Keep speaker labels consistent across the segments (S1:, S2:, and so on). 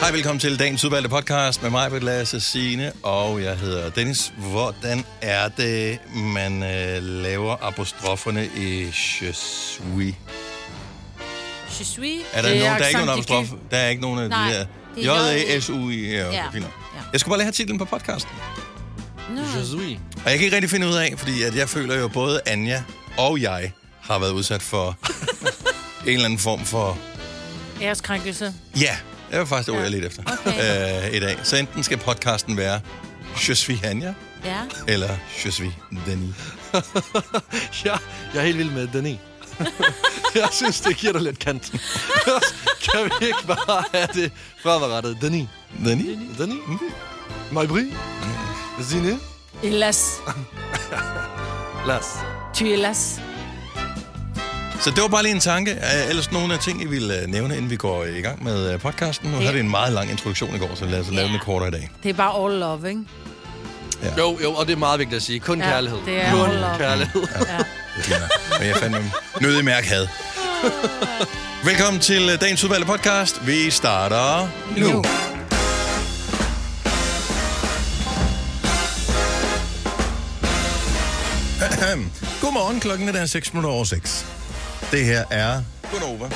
S1: Hej, velkommen til dagens udvalgte podcast med mig, Britt Lasse Signe, og jeg hedder Dennis. Hvordan er det, man øh, laver apostroferne i je suis?
S2: Je suis.
S1: Er der,
S2: Det
S1: nogen, der er
S2: accent,
S1: ikke nogen
S2: de kan-
S1: apostrof? Der er ikke nogen af
S2: Nej,
S1: de E
S2: det
S1: der.
S2: er E
S1: J-A-S-U-I. Ja, okay,
S2: Ja.
S1: fint nok.
S2: Ja. Hmm.
S1: Jeg skulle bare lige have titlen på podcasten.
S2: Nå.
S3: Jesui.
S1: Og jeg kan ikke rigtig finde ud af, fordi at jeg føler jo, at både Anja og jeg har været udsat for en eller anden form for...
S2: Æreskrænkelse.
S1: Ja, det var faktisk det ord, jeg lidt efter okay. øh, i dag. Så enten skal podcasten være Je suis Anja,
S2: Ja.
S1: eller Je suis Denis.
S3: Ja, jeg er helt vild med den i. jeg synes, det giver dig lidt kant. kan vi ikke bare have det fremadrettet? Den i.
S1: Denis? Mhm.
S3: Den i. Majbri. Zine.
S2: Elas.
S3: Lars.
S2: Tu elas.
S1: Så det var bare lige en tanke. Øh, Ellers nogle af ting, I ville øh, nævne, inden vi går i gang med øh, podcasten. Nu
S2: Ja.
S1: havde vi en meget lang introduktion i går, så lad os lave den lidt
S2: Ja.
S1: kortere i dag.
S2: Det er bare all love, ikke?
S3: Jo, jo, og det er meget vigtigt at sige. Kun
S2: Ja,
S3: ja, kærlighed.
S2: det er
S3: Kun
S2: hold op.
S3: kærlighed.
S2: Ja.
S1: Det er fint nok. Men jeg fandt mig nødig mærke had. Velkommen til øh, dagens udvalgte podcast. Vi starter nu.
S2: Nu.
S1: nu. Godmorgen, klokken er der 6 minutter over 6. Det her er Gunova.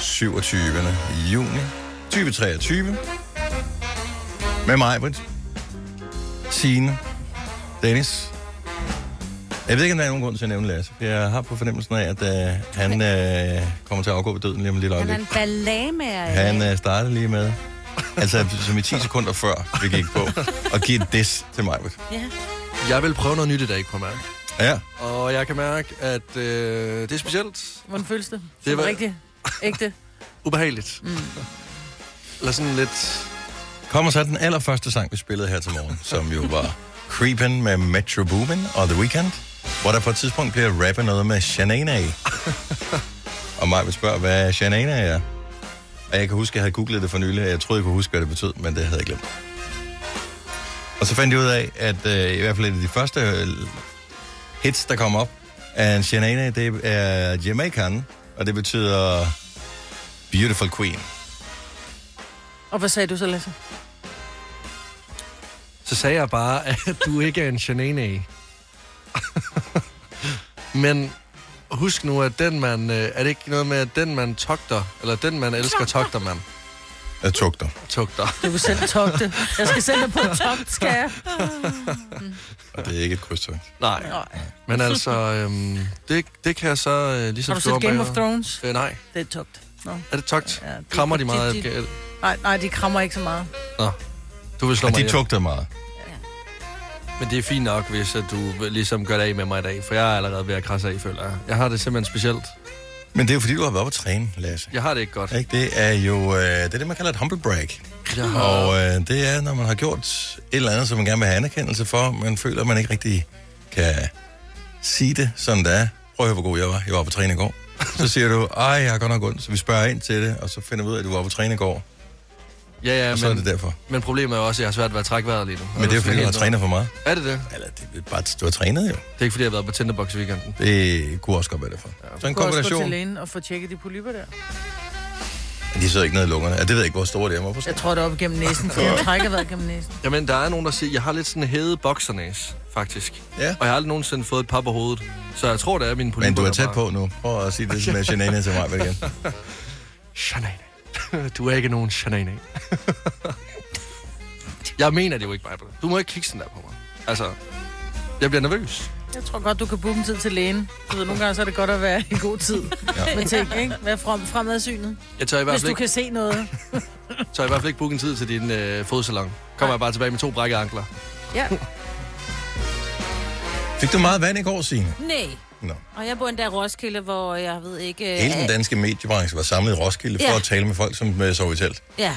S1: 27. juni 2023. Med mig, Britt. Signe. Dennis. Jeg ved ikke, om der er nogen grund til at nævne Lasse. for Jeg har på fornemmelsen af, at øh, han øh, kommer til at afgå ved døden lige om lidt
S2: Han er
S1: øjeblik.
S2: en balamager.
S1: Han øh, startede lige med, altså som i 10 sekunder før vi gik på, og give et diss til mig.
S2: Ja.
S3: Jeg vil prøve noget nyt i dag, kunne jeg mærke.
S1: Ja,
S3: Og jeg kan mærke, at øh, det er specielt
S2: Hvordan føles det?
S3: Det
S2: Det var
S3: var-
S2: rigtigt. Ægte.
S3: ubehageligt. Mm. Eller sådan lidt...
S1: kommer så den allerførste sang, vi spillede her til morgen, som jo var Creepin' med Metro Boomin og The Weeknd, hvor der på et tidspunkt bliver rappet noget med Shanana i. Og mig vil spørge, hvad Shanana er. Og jeg kan huske, at jeg havde googlet det for nylig, og jeg troede, jeg kunne huske, hvad det betød, men det havde jeg glemt. Og så fandt jeg ud af, at øh, i hvert fald et af de første øh, hits, der kom op af en Shanana, det er Jamaican, og det betyder Beautiful Queen.
S2: Og hvad sagde du så, Lasse?
S3: Så sagde jeg bare, at du ikke er en shenane. Men husk nu, at den man... øh, Er det ikke noget med, at den man togter, eller den man elsker, togter man?
S1: Jeg tugter.
S3: Tugter.
S2: Du vil selv togte. Jeg skal selv have på et togt, skal jeg.
S1: Og det er ikke et krydstog.
S3: Nej. Men altså, øhm, det, det kan jeg så øh, ligesom
S2: Har du
S3: slå
S2: set Game
S3: bagved.
S2: of Thrones?
S3: Øh, nej.
S2: Det er et togt. Nå.
S3: Er det togt?
S2: Ja, det-
S3: Krammer de meget?
S2: de- de-
S3: Gael?
S2: Nej, nej, de krammer ikke så meget.
S3: Nå. Du vil slå
S1: Og
S3: mig
S1: de
S3: ihjel.
S1: tugter meget.
S3: Men det er fint nok, hvis at du ligesom gør det af med mig i dag, for jeg er allerede ved at krasse af, føler jeg. Jeg har det simpelthen specielt.
S1: Men det er jo fordi, du har været oppe at træne, Lasse.
S3: Jeg har det ikke godt.
S1: Ikke? Det er jo øh, det, er det, man kalder et humble brag.
S3: Jeg har...
S1: Og øh, det er, når man har gjort et eller andet, som man gerne vil have anerkendelse for, men føler, at man ikke rigtig kan sige det, som det er. Prøv at høre, hvor god jeg var. Jeg var på træne i går. Så siger du, ej, jeg har godt nok ondt. Så vi spørger ind til det, og så finder vi ud af, at du var på træne i går.
S3: Ja, ja,
S1: Og så er
S3: men,
S1: det derfor.
S3: men problemet er også, at jeg har svært ved at trække vejret lige nu.
S1: Men det er jo fordi, du har
S3: helt-
S1: trænet for meget.
S3: Er det det?
S1: Eller det er bare, du har trænet jo.
S3: Det er ikke fordi, jeg har været på Tinderbox i weekenden.
S1: Det kunne også godt være derfor. Så en
S2: Du kan også gå til
S1: kombination.
S2: lægen og få tjekket de polyper der.
S1: De sidder ikke nede i lungerne. Ja, det ved jeg ikke, hvor store det er. Hvorfor?
S2: Jeg tror, det er op gennem næsen, for jeg trækker vejret gennem næsen.
S3: Jamen, der er nogen, der siger, at jeg har lidt sådan en hede boksernæs, faktisk.
S1: Ja.
S3: Og jeg har aldrig nogensinde fået et par på hovedet. Så jeg tror, det er min polyper.
S1: Men du er
S3: der
S1: tæt
S3: bare-
S1: på nu. Prøv at sige det sådan, at Janana til mig igen.
S3: Shanane. Du er ikke nogen shanane. jeg mener det jo ikke, Michael. Du må ikke kigge sådan der på mig. Altså, jeg bliver nervøs.
S2: Jeg tror godt, du kan booke en tid til lægen. Du ved, nogle gange så er det godt at være i god tid ja. med ting, ikke? Vær frem, fremadsynet,
S3: Jeg tør i hvert
S2: hvis du
S3: fald ikke,
S2: kan se noget.
S3: tør i hvert fald ikke booke en tid til din øh, fodsalon. Kommer jeg bare tilbage med to brækkede ankler.
S2: Ja.
S1: Fik du meget vand i går, Signe?
S4: Nej.
S1: Nå.
S4: Og jeg bor endda i Roskilde, hvor jeg ved ikke... øh,
S1: Hele den danske mediebranche var samlet i Roskilde for
S4: Ja.
S1: at tale med folk, som øh, sov i telt.
S4: Ja.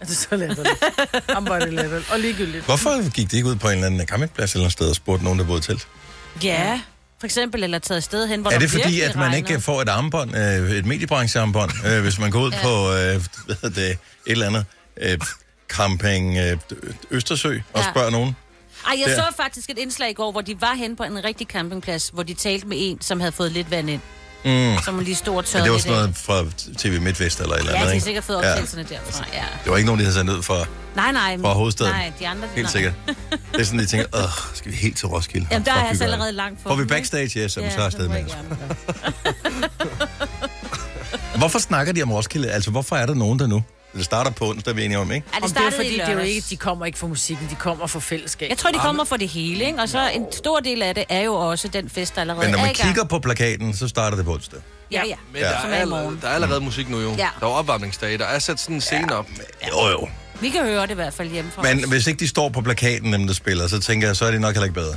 S2: Altså, så latterligt. Ambarte latterligt. Og ligegyldigt.
S1: Hvorfor gik det ikke ud på en eller anden campingplads eller et sted og spurgte nogen, der boede i telt?
S4: Ja. For eksempel, eller taget afsted hen, hvor
S1: Er
S4: der
S1: det fordi,
S4: virkelig
S1: at man
S4: regner.
S1: ikke får et armbånd, øh, et mediebranchearmbånd, øh, hvis man går ud ja. på øh, hvad hedder det, et eller andet øh, camping øh, Østersø og
S4: Ja.
S1: spørger nogen?
S4: Ej, jeg
S1: der?
S4: så faktisk et indslag i går, hvor de var hen på en rigtig campingplads, hvor de talte med en, som havde fået lidt vand ind.
S1: Mm.
S4: som lige stod og
S1: Men
S4: tørrede
S1: det var
S4: lidt
S1: sådan noget fra TV MidtVest eller et eller
S4: af. Ja,
S1: andet,
S4: de har
S1: ikke?
S4: sikkert fået optagelserne ja. derfra, ja.
S1: Det var ikke nogen, de havde sendt ud for,
S4: Nej, nej. men-
S1: fra hovedstaden.
S4: Nej, de andre...
S1: helt
S4: nej.
S1: sikkert. Det er sådan, de tænker, åh, skal vi helt til Roskilde?
S4: Jamen, der
S1: Fuck,
S4: er jeg
S1: vi
S4: altså
S1: gør det."
S4: allerede langt for
S1: Får vi
S4: den, ikke?
S1: backstage? Ja, så, ja, så er
S4: må
S1: afsted med
S4: jeg
S1: os.
S4: gerne.
S1: Hvorfor snakker de om Roskilde? Altså, hvorfor er der nogen der nu? Det starter på onsdag, vi er enige om, ikke?
S4: Ja, det
S2: Om det er
S4: startede
S2: fordi,
S4: i
S2: det er jo
S4: lørdags.
S2: ikke, de kommer ikke for musikken, de kommer for fællesskab.
S4: Jeg tror, de kommer for det hele, ikke? Og så en stor del af det er jo også den fest, der allerede
S1: Men når
S4: er
S1: man
S4: i gang.
S1: kigger på plakaten, så starter det på onsdag.
S4: Ja, ja.
S3: Men ja. der,
S4: Som
S3: er
S4: er i
S3: allerede,
S4: morgen.
S3: der er allerede musik nu jo.
S4: Ja.
S3: Der er opvarmningsdage, der er sat sådan en scene op.
S1: Jo, jo.
S4: Vi kan høre det i hvert fald hjemme fra
S1: Men
S4: os.
S1: hvis ikke de står på plakaten, dem der spiller, så tænker jeg, så er det nok heller ikke bedre.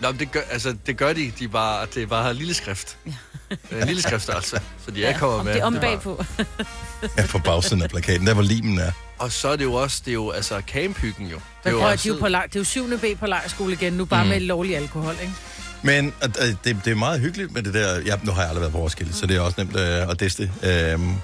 S3: Nå, men det gør, altså, det gør de. de er bare, det er bare lille skrift. Ja. lille skrift altså. Så de er ja, kommet
S4: Om
S3: med.
S4: det er om
S3: er bare-
S4: bagpå.
S1: Ja, på bagsiden af plakaten, der hvor limen er.
S3: Og så er det jo også, det er jo altså camphyggen jo. Det er
S2: Men
S3: jo
S2: prøv, at,
S3: også-
S2: de er jo på lej, det er jo 7. B på lejrskole igen, nu bare mm. med lovlig alkohol, ikke?
S1: Men og, og det, det er meget hyggeligt med det der... Ja, nu har jeg aldrig været på Roskilde, så det er også nemt øh, at deste. Øhm,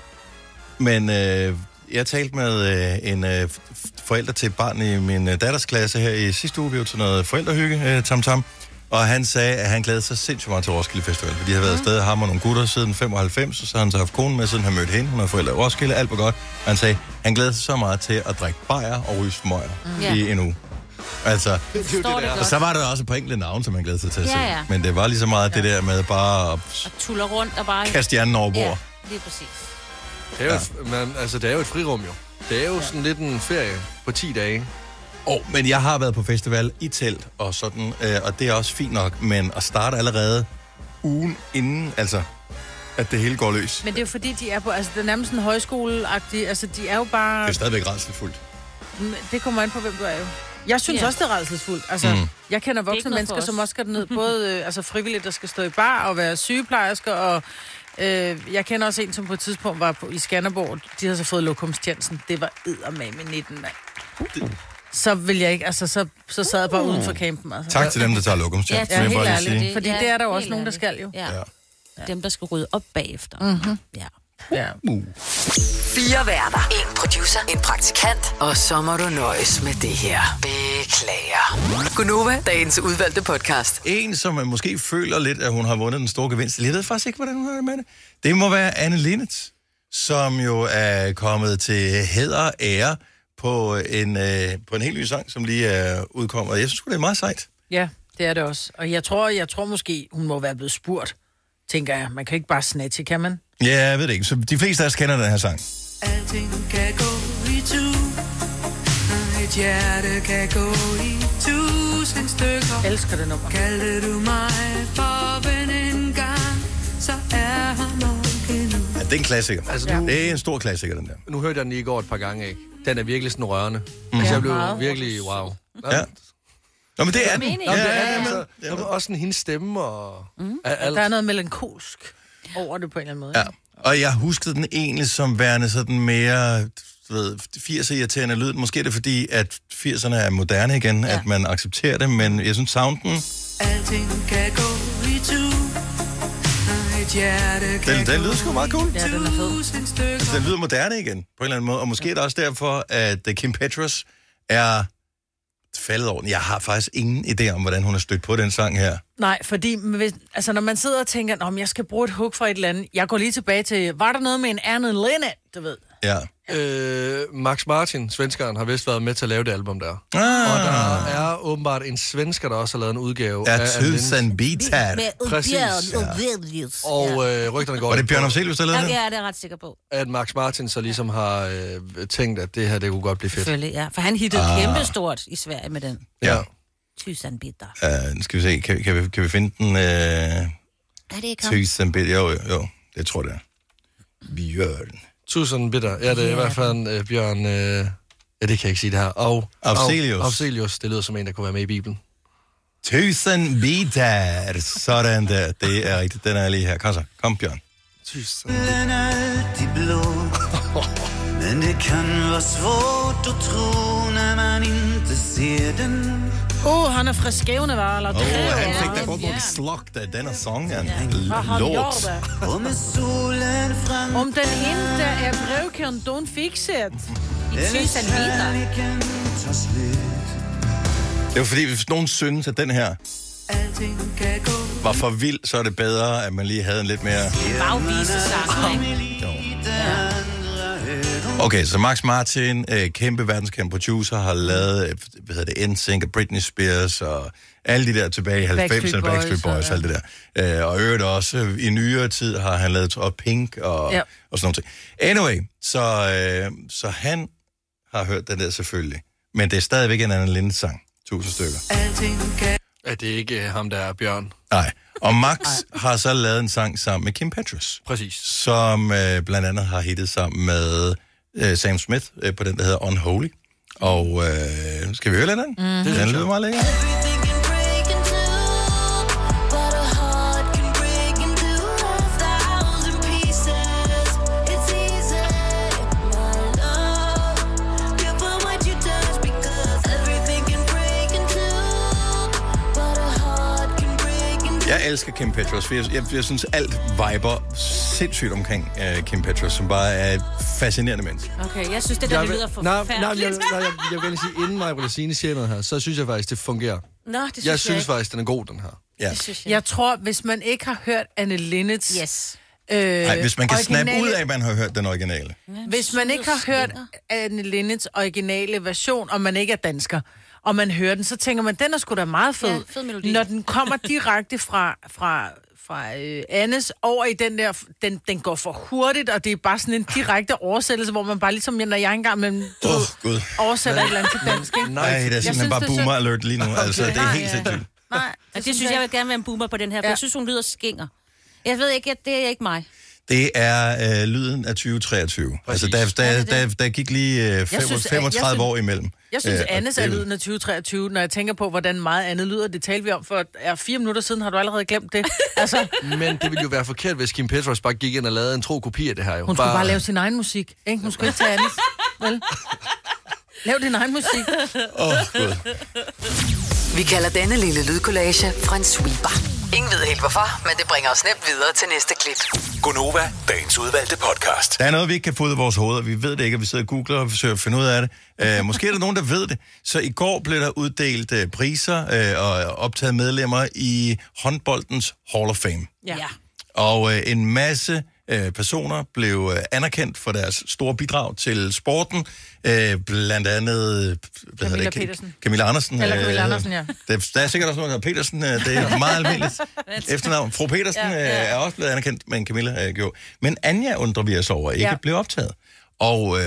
S1: men øh, jeg talte med øh, en øh, f- f- forælder til et barn i min øh, datters klasse her i sidste uge. Vi var til noget forældrehygge, øh, Tam Tam. Og han sagde, at han glædede sig sindssygt meget til Roskilde Festival. Fordi de har været
S4: Mhm.
S1: afsted, ham og nogle gutter, siden 95. Og så har han så haft konen med, siden han mødte hende. Hun er forældre i Roskilde, alt var godt. Og han sagde, han glædede sig så meget til at drikke bajer og ryge smøger
S4: Ja.
S1: mm. i en uge. Altså,
S3: Det er jo
S4: Står
S3: det,
S4: det
S3: der er.
S1: og så var der også et par enkelte navne, som han glædede sig til at se.
S4: Ja, ja.
S1: Men det var lige så meget det der med bare at
S4: Og tuller rundt og bare...
S1: kaste hjernen over bord.
S4: Ja,
S1: Ja.
S4: lige præcis.
S3: Det er jo, et- man, altså, det er jo et frirum jo. Det er jo sådan lidt en ferie på 10 dage.
S1: Oh, men jeg har været på festival i telt og sådan, øh, og det er også fint nok. Men at starte allerede ugen inden, altså, at det hele går løs, det
S2: Men det er jo fordi, de er på, altså det er nærmest sådan højskoleagtige, altså de er jo bare,
S1: er stadigvæk rædselfuldt.
S2: det kommer an på, hvem du er jo. Jeg synes
S4: Ja.
S2: yeah. også, det er redselsfuldt. Altså, mm. jeg kender
S4: ikke
S2: voksne
S4: noget
S2: mennesker,
S4: for os.
S2: som også skal ned, både øh, altså frivilligt, der skal stå i bar og være sygeplejersker, og øh, jeg kender også en, som på et tidspunkt var på, i Skanderborg, de havde så fået lokumstjenesten. Det var eddermame 19, mand. Så vil jeg ikke, altså så, så sad jeg bare uden for campen. Altså.
S1: Uh. Tak til dem, der tager lokumstjern.
S4: tak.
S1: vil jeg
S2: helt
S1: bare lige
S2: ærligt.
S1: sige.
S2: Fordi det er der jo også
S4: helt
S2: nogen, der skal
S4: ærligt.
S2: jo.
S4: Ja.
S1: Ja.
S4: Dem, der skal rydde op bagefter. Mm-hmm. Ja.
S2: Ja.
S5: Fire værter. En producer. En praktikant. Og så må du nøjes med det her. Beklager. Gunova, dagens udvalgte podcast.
S1: En, som man måske føler lidt, at hun har vundet den store gevinst. Jeg ved faktisk ikke, hvordan hun har det med det. Det må være Anne Linnet, som jo er kommet til hæder og ære på en, øh, på en helt ny sang, som lige er udkommet. Jeg synes sgu, det er meget sejt.
S2: Ja, det er det også. Og jeg tror, jeg tror måske, hun må være blevet spurgt, tænker jeg. Man kan ikke bare snatche, kan man?
S1: Ja, jeg ved det ikke. Så de fleste af os kender den her sang.
S6: Alting kan gå i tu Et hjerte kan gå i tusind stykker
S2: Jeg elsker det nummer.
S6: Kaldte du mig for ven en gang Så er her nok endnu
S1: Ja, det er en klassiker. Altså,
S3: Altså, nu-
S1: ja. Det er en stor klassiker, den der.
S3: Nu hørte jeg den lige i går et par gange, ikke? Den er virkelig sådan rørende. Mm. Altså, jeg blev
S2: meget.
S3: virkelig wow.
S1: Ja. Nå, men det er den.
S4: Meningen.
S1: Ja,
S3: Nå, men det
S1: ja,
S3: er det,
S1: ja,
S3: altså.
S1: men-
S3: Nå, men også sådan hendes stemme og mm. alt.
S2: Der er noget melankolsk over det på en eller anden måde.
S1: ja. Og jeg huskede den egentlig som værende sådan mere du ved, 80'er irriterende lyd. Måske er det fordi, at 80'erne er moderne igen, ja. at man accepterer det, men jeg synes sounden,
S6: Alting kan gå i tu Et hjerte kan
S1: den, den
S6: gå
S1: lyder sgu meget cool. Altså,
S6: i tusind stykker
S1: Den lyder moderne igen, på en eller anden måde. Og måske er det også derfor, at øh, Kim Petras er faldet over den. Jeg har faktisk ingen idé om, hvordan hun har stødt på den sang her.
S2: Nej, fordi hvis, altså, når man sidder og tænker, om jeg skal bruge et hook fra et eller andet, jeg går lige tilbage til, var der noget med en Anne Linnet, du ved?
S1: Ja.
S3: Øh, Max Martin, svenskeren, har vist været med til at lave det album der. Og
S1: Ah,
S3: der er åbenbart en svensker, der også har lavet en udgave
S1: er
S3: af Anne Lindes.
S1: tusind bitat.
S4: Med
S3: Præcis,
S4: udbjerget
S3: ja.
S4: og vedlivet.
S3: Og øh, rygterne går
S1: Var det
S3: lidt
S1: Bjørn
S3: på,
S1: Afselius, der
S4: Ja,
S1: lavede den?
S4: ja, det er jeg ret sikker på.
S3: at Max Martin så ligesom har øh, tænkt, at det her, det kunne godt blive fedt.
S4: Selvfølgelig, ja. For han hittede ah. kæmpestort i Sverige med den.
S1: Ja.
S4: Tysan bitter.
S1: Uh, nu skal vi se, kan, kan, vi, kan vi finde den? Uh,
S4: Er det ikke ham?
S1: tusind bit. Jo, jo, jo, det tror jeg, det er. Bjørn.
S3: Tusind bitter. Ja, det er i hvert fald en, øh, Bjørn... Øh, ja, det kan jeg ikke sige det her. Og
S1: Afzelius.
S3: Og, Afzelius, det lyder som en, der kunne være med i Bibelen.
S1: Tusind bitat. Sådan der. Det er rigtigt. Den er lige her. Kom så. Kom, Bjørn.
S3: Tusind.
S7: himlen alltid blå Men det kan vara svårt att tro när man inte ser den
S2: Åh, oh, han er fra skævne, var eller?
S1: Åh, oh, han fik da
S2: Bjørn.
S1: godt nok slagt af denne sang. Han
S2: Hvad har han gjort
S1: lort.
S2: da?
S7: Och med solen fram
S2: Om den inte er brevkern, don't fix it.
S4: Tysan bitter.
S7: kärleken tar slut
S1: Det var fordi, hvis nogen synes, at den her,
S6: alting kan gå
S1: Var for vild, så er det bedre, at man lige havde en lidt mere...
S4: Bagvisesangen, ikke?
S1: Okay, så Max Martin, øh, kæmpe verdenskendt producer, har lavet, øh, hvad hedder det, NSYNC og Britney Spears og alle de der tilbage i 90'erne, Backstreet
S2: Backstreet
S1: Boys,
S2: Boys
S1: Backstreet Boys og
S2: og-
S1: alt det der. Øh, og i øvrigt også, øh, i nyere tid har han lavet og Pink og, ja.
S2: Ja.
S1: og sådan noget. Anyway, så, øh, så han har hørt den der selvfølgelig. Men det er stadigvæk en anden Linde sang. Tusind stykker.
S6: Alting kan
S3: Er det ikke øh, ham, der er Bjørn?
S1: Nej. Og Max har så lavet en sang sammen med Kim Petras.
S3: Præcis.
S1: som øh, blandt andet har hittet sammen med øh, Sam Smith øh, på den, der hedder Unholy. Og øh, skal vi høre lidt af den? Mm.
S3: Mhm. Det
S1: Den
S3: synes
S1: lyder
S3: jeg.
S1: meget lækker. Jeg elsker Kim Petras, for jeg, jeg, jeg synes, alt viber sindssygt omkring øh, Kim Petras, som bare er et fascinerende menneske.
S4: Okay, jeg synes, det der det lyder
S3: Nej, nej, jeg,
S4: forfærdeligt.
S3: nej, jeg, jeg vil gerne sige, inden mig Brillesine siger noget her, så synes jeg faktisk, det fungerer.
S4: Nå, det synes
S3: Jeg synes
S4: ikke.
S3: faktisk, den er god, den her.
S1: Ja.
S4: Det synes jeg.
S2: Jeg tror, hvis man ikke har hørt Anne Linnets...
S4: Yes.
S2: Øh,
S1: Nej, hvis man kan snappe
S2: originale-
S1: ud af, at man har hørt den originale.
S2: Hvis man ikke har hørt Anne Linnets originale version, og man ikke er dansker, og man hører den, så tænker man, den er sgu da meget fed.
S4: Ja, fed melodi.
S2: Når den kommer direkte fra, fra, fra øh, Annes over i den der, den, den går for hurtigt, og det er bare sådan en direkte oversættelse, hvor man bare ligesom, når jeg engang men,
S1: Åh, oh, gud.
S2: oversætter et eller andet til dansk, ikke?
S1: Nej, det er
S2: synes,
S1: simpelthen bare
S2: det er synd.
S1: boomer alert lige nu. Altså, det er helt sindssygt.
S2: Nej,
S4: Og det synes jeg, jeg vil gerne være en boomer på den her, for ja.
S2: Ja.
S4: jeg synes, hun lyder skinger. Jeg ved ikke, at det er ikke mig.
S1: Det er øh, lyden af 2023. Altså, der, der, der, der gik lige øh, fem-
S2: synes, at-
S1: 35
S2: jeg synes-
S1: år imellem.
S2: Jeg synes,
S1: Øh, og
S2: Annes er
S1: det-
S2: lyden af 2023, når jeg tænker på, hvordan meget andet lyder. Det talte vi om for er fire minutter siden. Har du allerede glemt det? Altså,
S3: Men det ville jo være forkert, hvis Kim Petras bare gik ind og lavede en tro kopi af det her. Jo.
S2: hun skulle bare lave sin egen musik. Ikke? Hun skulle ikke tage Annes. Vel? Lav din egen musik.
S1: Åh, oh, gud.
S5: Vi kalder denne lille lydkollage en sweeper. Ingen ved helt hvorfor, men det bringer os nemt videre til næste klip.
S8: Gunova, dagens udvalgte podcast.
S1: Der er noget, vi ikke kan få ud af vores hoveder. Vi ved det ikke, og vi sidder og googler og forsøger at finde ud af det. Øh, måske er der nogen, der ved det. Så i går blev der uddelt øh, priser øh, og optaget medlemmer i håndboldens Hall of Fame.
S2: Ja. ja.
S1: Og øh, en masse øh, personer blev øh, anerkendt for deres store bidrag til sporten. Øh, blandt andet... øh, Hvad
S2: Camilla
S1: Ka-
S2: Petersen.
S1: Camilla Andersen.
S2: Eller
S1: øh,
S2: Camilla Andersen, ja.
S1: Der, der er sikkert også nogen, der hedder Petersen. øh, Det er meget almindeligt efternavn. Fru Petersen ja, ja. er også blevet anerkendt, men Camilla øh, gjorde. Men Anja undrer vi os over, ikke ja.
S2: Ja.
S1: blev optaget. Og øh,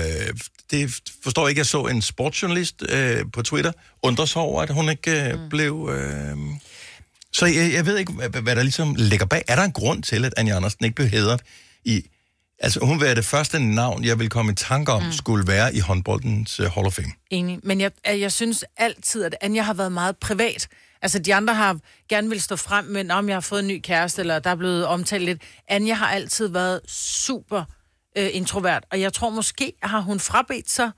S1: det forstår jeg ikke. Jeg så en sportsjournalist øh, på Twitter undre sig over, at hun ikke øh, mm. blev... Øh, så jeg, jeg ved ikke, hvad, hvad der ligesom ligger bag. Er der en grund til, at Anja Andersen ikke blev hedret i... Altså, hun var det første navn, jeg ville komme i tanke om, mm. skulle være i håndboldens uh, Hall of Fame.
S2: Enig. Men jeg, øh, jeg synes altid, at Anja har været meget privat. Altså, de andre har gerne vil stå frem, men om jeg har fået en ny kæreste, eller der er blevet omtalt lidt. Anja har altid været super øh, introvert, og jeg tror måske, har hun frabedt sig.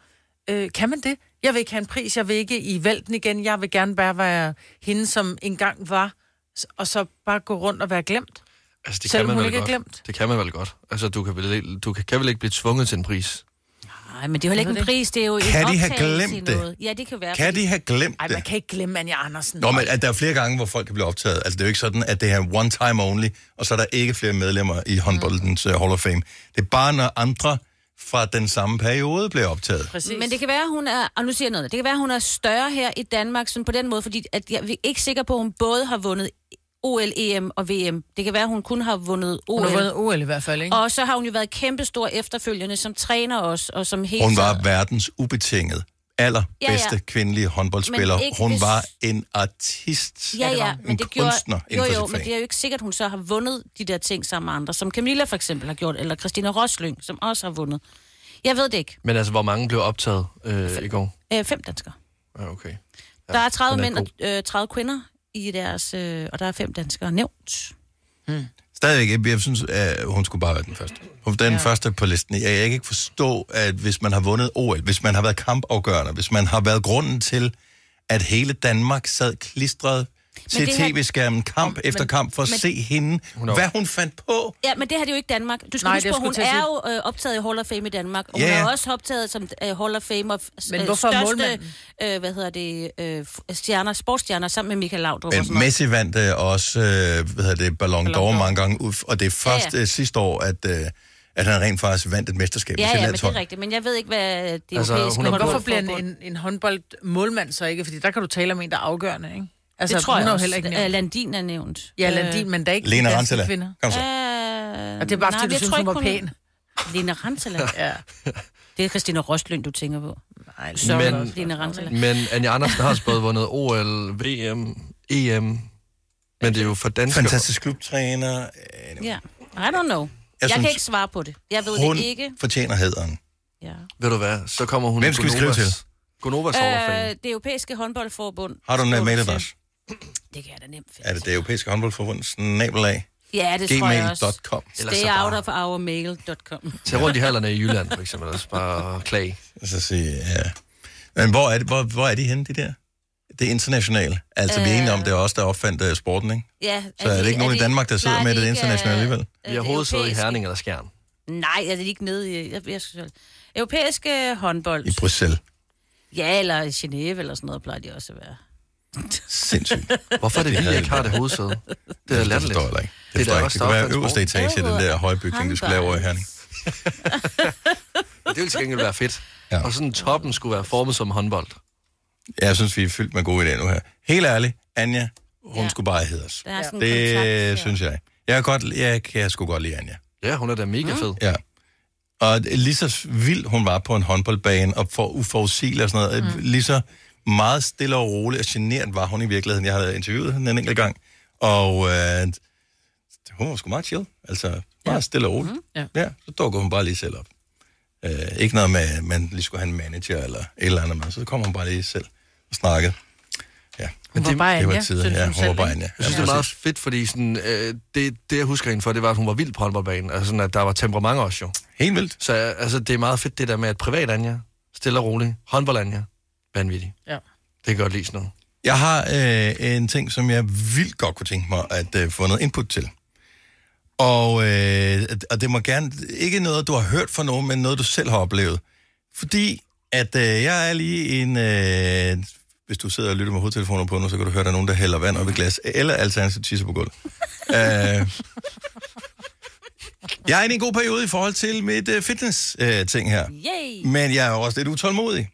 S2: Øh, kan man det? Jeg vil ikke have en pris, jeg vil ikke i vælten igen. Jeg vil gerne bare være hende, som engang var, s- og så bare gå rundt og være glemt.
S3: Altså, det
S2: Selvom
S3: kan man
S2: hun
S3: vel
S2: ikke er
S3: godt.
S2: glemt.
S3: Det kan man vel godt. Altså, du kan vel, ikke- du kan, kan vel ikke blive tvunget til en pris?
S4: Nej, men det er jo heller ikke en pris, det er jo en
S1: Kan de have
S4: optagelse i
S1: glemt det?
S4: noget. Ja, det kan være.
S1: Kan de have glemt
S2: Ej, man
S1: det?
S2: kan ikke glemme Anja Andersen.
S1: Nå, men at der er flere gange, hvor folk kan blive optaget. Altså, det er jo ikke sådan, at det er one time only, og så er der ikke flere medlemmer i håndboldens uh, Hall of Fame. Det er bare, når andre fra den samme periode bliver optaget.
S2: Præcis.
S4: Men det kan være, hun er, og nu siger jeg noget, andet. det kan være, hun er større her i Danmark, sådan på den måde, fordi at jeg er ikke sikker på, at hun både har vundet OL, EM og VM. Det kan være, hun kun har vundet OL.
S2: Hun har vundet OL i hvert fald, ikke?
S4: Og så har hun jo været kæmpestor efterfølgende som træner også, og som helt...
S1: Hun var verdens ubetinget allerbedste ja,
S4: Ja,
S1: ja.
S4: ja.
S1: kvindelige håndboldspiller.
S4: Men ikke
S1: Hun
S4: hvis-
S1: var en artist.
S4: Ja, ja,
S1: en
S4: men det gjorde...
S1: kunstner
S4: Jo,
S1: inden for
S4: jo,
S1: sit
S4: men
S1: fag.
S4: det er jo ikke sikkert, hun så har vundet de der ting sammen med andre, som Camilla for eksempel har gjort, eller Christina Rosling, som også har vundet. Jeg ved det ikke.
S3: Men altså, hvor mange blev optaget øh, i går?
S4: Øh, fem danskere.
S3: Ja, okay.
S4: Ja, der er 30
S3: den er
S4: mænd og øh, 30 kvinder i deres, øh, og der er fem danskere nævnt.
S1: Stadigvæk, jeg- jeg synes, at hun skulle bare være den første. Hun er den ja. første på listen. Jeg jeg kan ikke forstå, at hvis man har vundet OL, hvis man har været kampafgørende, hvis man har været grunden til, at hele Danmark sad klistret til
S4: det her-
S1: tv-skærmen kamp efter
S4: men-
S1: kamp for at
S4: men-
S1: se hende,
S3: er-
S1: hvad hun fandt på.
S4: Ja, men det har det jo ikke Danmark. Du skal
S2: Nej,
S4: Nej,
S2: det
S4: huske på,
S2: skulle
S4: hun
S2: jeg til
S4: er
S2: at
S4: jo øh, optaget i Hall of Fame i Danmark, og
S1: Ja,
S4: hun
S1: ja.
S4: er også optaget som øh, Hall of Fame og
S2: Men hvorfor målmanden?
S4: øh, hvad hedder det, øh, f- stjerner, sportsstjerner sammen med Michael Laudrup. og sådan
S1: Men
S4: noget.
S1: Messi vandt øh, også øh, hvad hedder det, Ballon
S4: d'Or.
S1: d'Or mange gange, ud, og det er først
S4: Ja,
S1: ja,
S4: ja.
S1: ja. sidste år, at, øh, at han rent faktisk vandt et mesterskab med
S4: Ja,
S1: sit
S4: ja, men det
S1: landshold.
S4: er rigtigt. Men jeg ved ikke, hvad det
S3: Altså,
S4: altså, europæiske
S3: hun er
S2: Men hvorfor
S3: Håndbold-
S2: bliver en, en, en håndboldmålmand så ikke? Fordi der kan du tale om en, der er afgørende, ikke?
S4: det
S2: Altså,
S4: tror
S2: hun
S4: jeg
S2: er jo
S4: også.
S2: heller ikke
S4: Øh,
S2: nævnt.
S4: Landin er nævnt.
S2: Ja, Landin, men der er ikke
S1: Lena
S2: danske
S1: Rantala,
S2: kvinder.
S1: kom så.
S2: Og
S4: Øh,
S2: det er bare,
S4: nej,
S2: fordi
S4: men
S2: du
S4: jeg
S2: synes,
S4: tror
S2: hun var
S4: ikke,
S2: pæn.
S4: Lena Rantala.
S2: Ja.
S4: Det er Christina Rostlund, du tænker på.
S2: Nej,
S4: Så
S3: Men-
S4: men... Lena Rantala.
S3: Men Anja Andersen har også både vundet OL, VM, EM. E Men det er jo for danskere.
S1: Fantastisk klubtræner. Øh,
S4: Ja. I don't know. Jeg, jeg
S1: synes-
S4: kan ikke svare på det. Jeg ved
S1: Hun
S4: det ikke.
S1: fortjener hæderen.
S4: Ja.
S3: Ved du hvad, så kommer hun
S1: Hvem skal vi skrive
S3: Gonovas- Gonovas
S4: Øh,
S3: overfan.
S4: det europæiske håndboldforbund.
S1: Har du en øh,
S4: skriver
S1: mailadresse?
S4: til. Det kan jeg da nemt finde.
S1: Er det det europæiske håndboldforbunds nabolag?
S4: Ja, det tror jeg også.
S1: Gmail.com.
S3: Ellers
S4: Stay
S3: så bare-
S4: out of our mail.com.
S3: Tag rundt i hallerne i Jylland, for eksempel, og så bare klage.
S1: Så sige, ja. Men hvor er, det, hvor, hvor er de henne, de der? Det er internationale. Altså, øh... vi er enige om, det er os, der opfandt uh, sporten, ikke?
S4: Ja,
S1: Så er, det ikke nogen i Danmark, der sidder
S4: nej,
S1: med det,
S4: ikke,
S1: internationale
S4: øh,
S1: alligevel?
S4: øh,
S3: Vi har
S4: det
S3: hovedsædet i
S4: europæiske-
S3: Herning eller Skjern.
S4: Nej, er det ikke nede i... Jeg, jeg, jeg, europæiske håndbold.
S1: I Bruxelles.
S4: Ja, eller i Genève eller sådan noget plejer de også at være.
S1: Sindssygt.
S3: Hvorfor er det, vi ikke har det hovedsæde? Det er
S1: Det
S3: latterligt.
S1: forstår jeg heller ikke. Det,
S3: Det er
S1: det,
S3: da
S1: ikke.
S3: også
S1: det kunne være
S3: affaldsbord.
S1: øverste etage i den der
S4: Øver-
S1: høje bygning, du skulle lave over i Herning.
S3: Det ville til gengæld være fedt.
S1: Ja.
S3: Og sådan toppen skulle være formet som håndbold.
S1: Jeg synes, vi er fyldt med gode idéer nu her. Helt ærligt, Anja, hun
S4: Ja.
S1: skulle bare hedde os.
S4: Der er sådan en
S1: Det
S4: kontakt,
S1: synes jeg. Jeg kan, godt, jeg kan sgu godt lide Anja.
S3: Ja, hun er da mega
S2: Mm.
S3: fed.
S1: Ja. Og lige så vild hun var på en håndboldbane, og for uforudsigelig og sådan noget, mm. lige så meget stille og roligt og genert var hun i virkeligheden. Jeg havde interviewet hende en enkelt gang, og øh, hun var sgu meget chill. Altså, meget ja. stille og roligt. Mm.
S2: Ja. Mm-hmm.
S1: ja. så dukker hun bare lige selv op. Øh, ikke noget med, at man lige skulle have en manager eller et eller andet, men så kom hun bare lige selv og snakkede. Ja,
S2: Hun var bare
S1: det var
S2: Anja,
S1: tider.
S2: synes
S1: Ja,
S2: hun
S1: hun var
S2: selv,
S1: bare
S2: ikke?
S1: Anja.
S3: Jeg synes,
S1: ja,
S3: det er meget
S1: præcis.
S3: fedt, fordi sådan, øh, det, det, jeg husker hende for, det var, at hun var vild på håndboldbanen. Altså sådan, at der var temperament også jo.
S1: Helt vildt.
S3: Så øh, altså, det er meget fedt, det der med, at privat Anja, stille og roligt, håndbold Anja, vanvittig.
S2: Ja.
S3: Det kan jeg godt lide sådan noget.
S1: Jeg har øh, en ting, som jeg vildt godt kunne tænke mig at øh, få noget input til. Og, øh, og det må gerne ikke noget, du har hørt fra nogen, men noget, du selv har oplevet. Fordi at øh, jeg er lige en... Øh, hvis du sidder og lytter med hovedtelefoner på nu, så kan du høre, at der er nogen, der hælder vand op i glas. Eller alternativt tisser på gulvet. øh, jeg er inde i en god periode i forhold til mit øh, fitness-ting øh, ting her.
S4: Yay!
S1: Men jeg er jo også lidt utålmodig.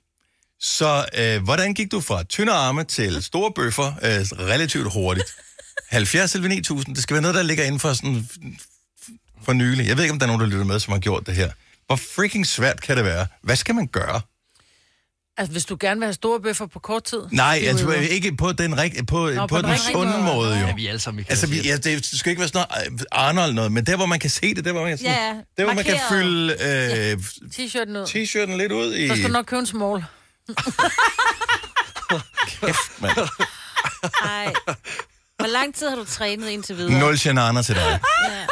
S1: Så øh, hvordan gik du fra tynde arme til store bøffer øh, relativt hurtigt? 70 eller 9000, det skal være noget, der ligger inden for sådan for nylig. Jeg ved ikke, om der er nogen, der lytter med, som har gjort det her. Hvor freaking svært kan det være? Hvad skal man gøre?
S2: Altså, hvis du gerne vil have store bøffer på kort tid...
S1: Nej,
S2: det er jo-
S1: altså, ikke på den, rig- på,
S2: Nå, på
S1: Nå, på
S2: den
S1: den
S2: rigtige
S1: sunde
S2: måde.
S1: måde, jo.
S3: Vi er alle sammen, vi kan
S1: Altså,
S3: sige
S1: vi, ja, det skal ikke være sådan noget øh, Arnold noget, men der, hvor man kan se det, der, hvor man kan, sådan,
S4: Ja, ja.
S1: der, hvor man kan
S4: Markeret.
S1: fylde øh,
S2: T-shirten ud.
S1: t-shirten lidt ud i...
S2: Så skal du nok købe en small.
S1: Kæft, mand.
S4: Ej. Hvor lang tid har du trænet indtil videre?
S1: Nul genaner til dig.
S4: Ja.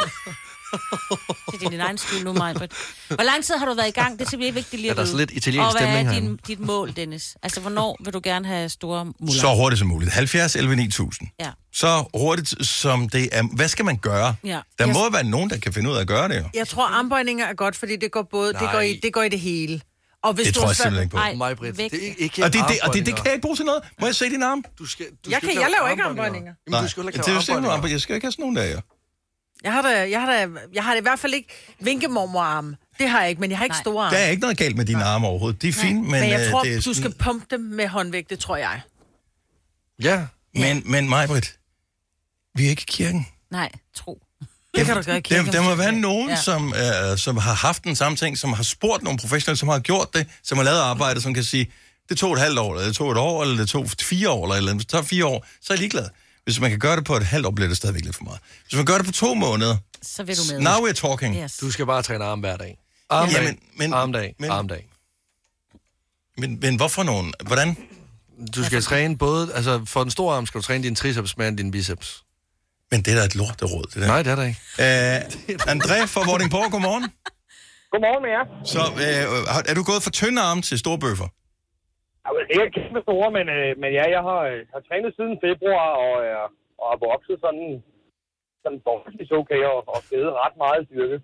S4: Det er din egen skyld nu, Majbert. Hvor lang tid har du været i gang? Det er simpelthen vigtigt lige
S3: Ja,
S4: at
S3: der er så
S4: vide.
S3: lidt italiensk
S4: Og hvad
S3: stemning
S4: er
S3: herinde.
S4: din, dit mål, Dennis? Altså, hvornår vil du gerne have store muller?
S1: Så hurtigt som muligt. 70, 11, 9000.
S4: Ja.
S1: Så hurtigt som det er. Hvad skal man gøre?
S4: Ja.
S1: Der
S4: Jeg-
S1: må være nogen, der kan finde ud af at gøre det jo.
S2: Jeg tror, armbøjninger er godt, fordi det går, både, det går, i,
S3: Nej.
S2: det går i det hele. Og hvis
S1: Det
S2: du
S1: tror
S2: har
S1: jeg
S2: svært-
S1: simpelthen ikke på.
S4: Ej,
S3: Mig, Britt,
S4: væk.
S3: det er ikke
S1: Og det, det, og det, det kan jeg ikke bruge til noget. Må jeg se din arm?
S3: Du skal, du
S2: Jeg
S3: skal
S2: kan-
S3: ikke
S2: jeg
S3: lave
S2: laver ikke armbøjninger.
S3: Jamen, du skal jo ikke
S1: det
S3: lave
S1: er jo sådan
S3: armbøjninger.
S1: nogle armbøjninger. Jeg skal ikke have sådan nogle der, ja.
S2: Jeg har da, jeg har da, jeg har da i hvert fald ikke vinkemormorarme. Det har jeg ikke, men jeg har ikke
S4: Nej.
S2: store arme.
S1: Der er ikke noget galt med dine arme overhovedet. De er fine, men,
S2: men
S1: øh,
S2: jeg tror,
S1: det er
S2: du
S1: sådan-
S2: skal pumpe dem med håndvægte, tror jeg.
S3: Ja,
S1: Men, men Majbrit, vi er ikke i kirken.
S4: Nej, tro.
S2: Det kan du gøre i kirken.
S1: Der, der må være nogen, ja. som, øh, som har haft den samme ting, som har spurgt nogle professionelle, som har gjort det, som har lavet arbejdet, som kan sige, det tog et halvt år, eller det tog et år, eller det tog fire år, eller et eller andet. Hvis det tager fire år, så er jeg ligeglad. Hvis man kan gøre det på et halvt år, bliver det stadigvæk lidt for meget. Hvis man gør det på to måneder,
S4: Så vil du med.
S1: now we're talking.
S4: Yes.
S3: du skal bare træne arm hver dag. Armdag,
S1: Jamen, men-
S3: armdag,
S1: men-
S3: armdag.
S1: Men, men hvorfor nogen? Hvordan?
S3: Du skal træne både, altså for den store arm skal du træne din triceps mere end din biceps.
S1: Men det er da et lorteråd, det der.
S3: Nej, det er der ikke.
S1: Øh, André fra Vordingborg, godmorgen.
S9: Godmorgen med jer.
S1: Så øh, har- er du gået fra tynde arme til store bøffer?
S9: Jamen,
S10: Det er kæmpe store, men, øh, men ja, jeg har, øh, har trænet siden februar og, øh, og er vokset sådan, sådan forholdsvis okay og, og stedet ret meget i styrke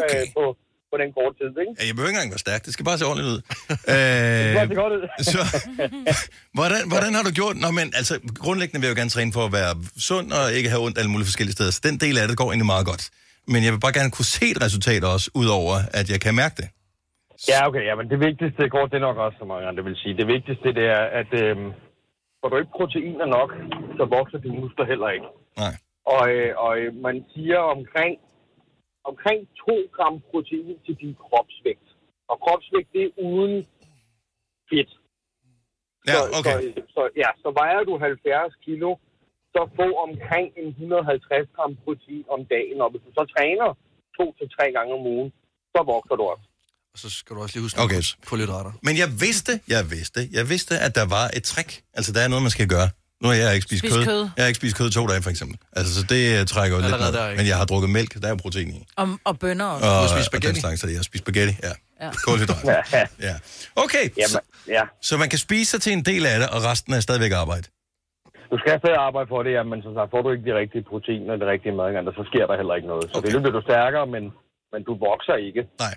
S10: okay. øh, på, på den korte tid. Ikke?
S1: Ja, jeg behøver ikke engang være stærk. Det skal bare se ordentligt ud.
S10: Det ser
S1: Øh,
S10: godt ud.
S1: så, hvordan, hvordan har du gjort? Nå, men altså, grundlæggende vil jeg jo gerne træne for at være sund og ikke have ondt alle mulige forskellige steder. Så den del af det går egentlig meget godt. Men jeg vil bare gerne kunne se et resultat også, udover at jeg kan mærke det.
S10: Ja, okay. Ja, men det vigtigste kort, det er nok også, som mange andre vil sige. Det vigtigste, det er, at øh, får du ikke proteiner nok, så vokser dine muskler heller ikke.
S1: Nej.
S10: Og, øh, og øh, man siger omkring, omkring 2 gram protein til din kropsvægt. Og kropsvægt, det er uden fedt.
S1: Ja, okay.
S10: Så, øh, så, så, ja, så vejer du 70 kilo, så få omkring en 150 gram protein om dagen. Og hvis du så træner to til tre gange om ugen, så vokser du op.
S3: Og så skal du også lige huske
S1: Okay.
S3: kulhydrater.
S1: Men jeg vidste, jeg vidste, jeg vidste, at der var et trick. Altså, der er noget, man skal gøre. Nu har jeg ikke spist
S2: Spis
S1: kød.
S2: kød.
S1: Jeg har ikke spist kød i to dage, for eksempel. Altså, så det øh, trækker jo lidt
S3: Allerede der,
S1: ned.
S3: ikke?
S1: Men jeg har drukket mælk, der er jo protein i.
S2: Og, og bønder også.
S1: Og, øh,
S3: spist
S1: Og
S3: spaghetti?
S1: den slags, så jeg har spist spaghetti, ja. ja. Kulhydrat.
S10: Ja,
S1: Ja. Okay, så,
S10: jamen, ja.
S1: så man kan spise sig til en del af det, og resten er stadigvæk arbejde.
S10: Du skal stadig arbejde for det, ja, men som sagt, får du ikke de rigtige proteiner og de rigtige madganger, så sker der heller ikke noget. Så
S1: Okay.
S10: okay. det bliver du stærkere, men, men du vokser ikke.
S1: Nej.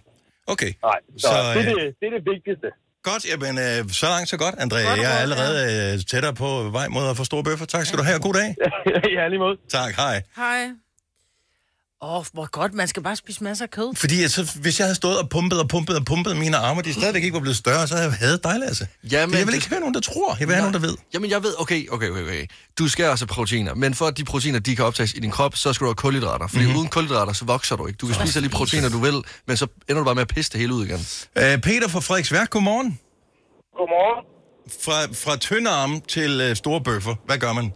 S1: Okay.
S10: Nej,
S1: Så,
S10: så, så det,
S1: øh,
S10: er det, det er det vigtigste.
S1: Godt, jamen, øh, så langt, så godt, André. Jeg er allerede øh, tættere på vej mod at få store bøffer. Tak skal du have, og god dag.
S10: ja, lige måde.
S1: Tak, hej.
S2: Hej. Åh, oh, hvor godt. Man skal bare spise masser af kød.
S1: Fordi altså, hvis jeg havde stået og pumpet og pumpet og pumpet mine arme, og de stadigvæk ikke var blevet større, så havde jeg hadet dig, Lasse.
S3: Jamen,
S1: jeg vil
S3: det-
S1: ikke høre nogen, der tror. Jeg vil have nogen, der ved.
S3: Jamen, jeg ved, okay, okay, okay, okay. Du skal altså proteiner, men for at de proteiner, de kan optages i din krop, så skal du have kulhydrater. Fordi
S1: Mhm.
S3: mm-hmm. uden kulhydrater, så vokser du ikke. Du kan spise alle de proteiner, du vil, men så ender du bare med at pisse det hele ud igen.
S1: Øh, Peter fra Frederiksværk, godmorgen.
S10: Godmorgen.
S1: Fra, fra tynde arme til øh, store bøffer. Hvad gør man?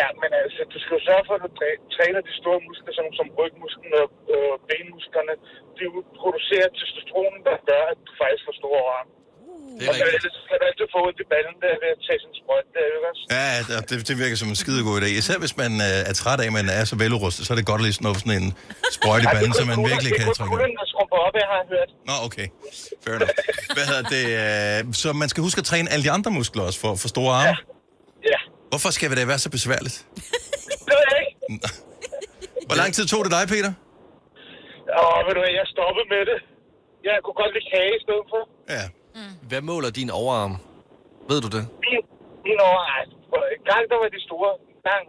S10: Ja, men altså, du skal jo sørge for, at du træner de store muskler, som, som rygmusklen og øh, benmusklerne. De producerer testosteron, der gør, at du faktisk får store arme.
S3: Det er rigtigt.
S10: ellers kan du altid få ondt i ballen der ved at tage sin sprøjt der, ikke
S1: Ja, det- det, det virker som en skidegod idé. Især hvis man øh, er træt af, at man er så veludrustet, så er det godt at lige snuppe sådan en sprøjt i banden, så man virkelig kan trække ud.
S10: der skrumper op, jeg har hørt.
S1: Nå, okay. Fair enough. Hvad hedder det? Øh, så man skal huske at træne alle de andre muskler også for, for store arme.
S10: Ja,
S1: Hvorfor skal det være så besværligt?
S10: det ved jeg ikke.
S1: Hvor lang tid tog det dig, Peter?
S10: Åh, ved du hvad, jeg stoppede med det. Jeg kunne godt lide kage i stedet for.
S1: Ja.
S3: Hvad måler din overarm? Ved du det?
S10: Min, min år, ej, for en gang der var de store, en gang,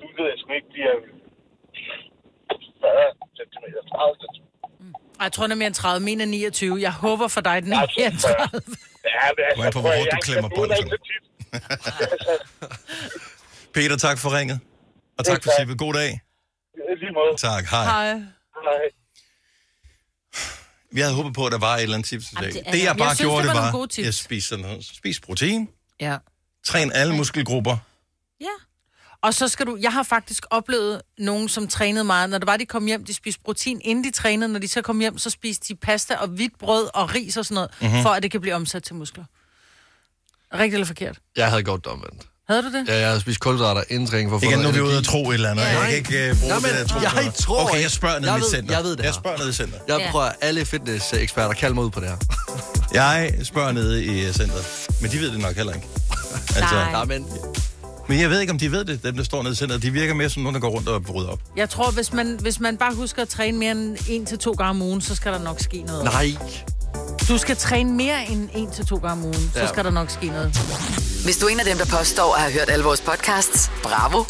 S10: nu ved jeg sgu ikke, de er 40 cm, 30 cm.
S2: Ej, jeg tror, den er mere end 30. Min er 29. Jeg håber for dig, den er
S10: Ja,
S2: mere end 30.
S10: Ja, men altså,
S1: Kommer an på, hvor
S10: prøv at-
S1: hårdt du
S10: jeg-
S1: klemmer
S10: jeg bruger
S1: bolden.
S10: det ikke så tit. Altså,
S1: Peter, tak for ringet. Og tak for tippet. God dag.
S10: Lige måde.
S1: Tak, hej.
S2: Hej.
S10: Hej.
S1: Vi havde håbet på, at der var et eller andet tips i dag.
S6: Jamen, det
S1: Det,
S6: er
S1: jeg
S6: der.
S1: bare
S2: Jeg synes,
S1: gjorde,
S2: det var
S1: det
S2: nogle
S1: var,
S2: gode tips.
S1: jeg spiste sådan noget. Spis protein,
S2: Ja.
S1: træn alle muskelgrupper.
S6: Ja.
S2: Og så skal du... Jeg har faktisk oplevet nogen, som trænede meget. Når det var, de kom hjem, de spiste protein, inden de trænede. Når de så kom hjem, så spiste de pasta og hvidt brød og ris og sådan noget, mm-hmm. for at det kan blive omsat til muskler. Rigtigt eller forkert?
S3: Jeg havde godt omvendt.
S2: Havde du det?
S3: Ja, jeg havde spist kulhydrater inden træning for at få
S1: Igen, nu er
S3: noget
S1: vi ude at
S3: energi.
S1: tro et eller andet. Jeg kan ikke uh, bruge
S3: Nej, men
S1: det der tro.
S3: jeg
S1: på noget.
S3: tror
S1: Okay,
S3: ikke.
S1: jeg spørger ned
S3: Jeg
S1: i mit
S3: ved-
S1: center.
S3: jeg ved det
S1: Jeg
S3: her.
S1: spørger ned i center.
S3: Jeg
S6: Ja.
S3: prøver alle fitness-eksperter, kald mig ud på det her.
S1: Jeg spørger nede i øh, centret. Men de ved det nok heller ikke. Altså,
S6: Nej.
S3: Nej, men
S1: men jeg ved ikke, om de ved det, dem der står nede i centret. De virker mere som nogen, der går rundt og rydder op.
S2: Jeg tror, hvis man, hvis man bare husker at træne mere end en til to gange om ugen, så skal der nok ske noget.
S3: nej.
S2: Du skal træne mere end en til to gange om ugen, så
S3: Ja.
S2: skal der nok ske noget.
S5: Hvis du er en af dem, der påstår at have hørt alle vores podcasts, bravo.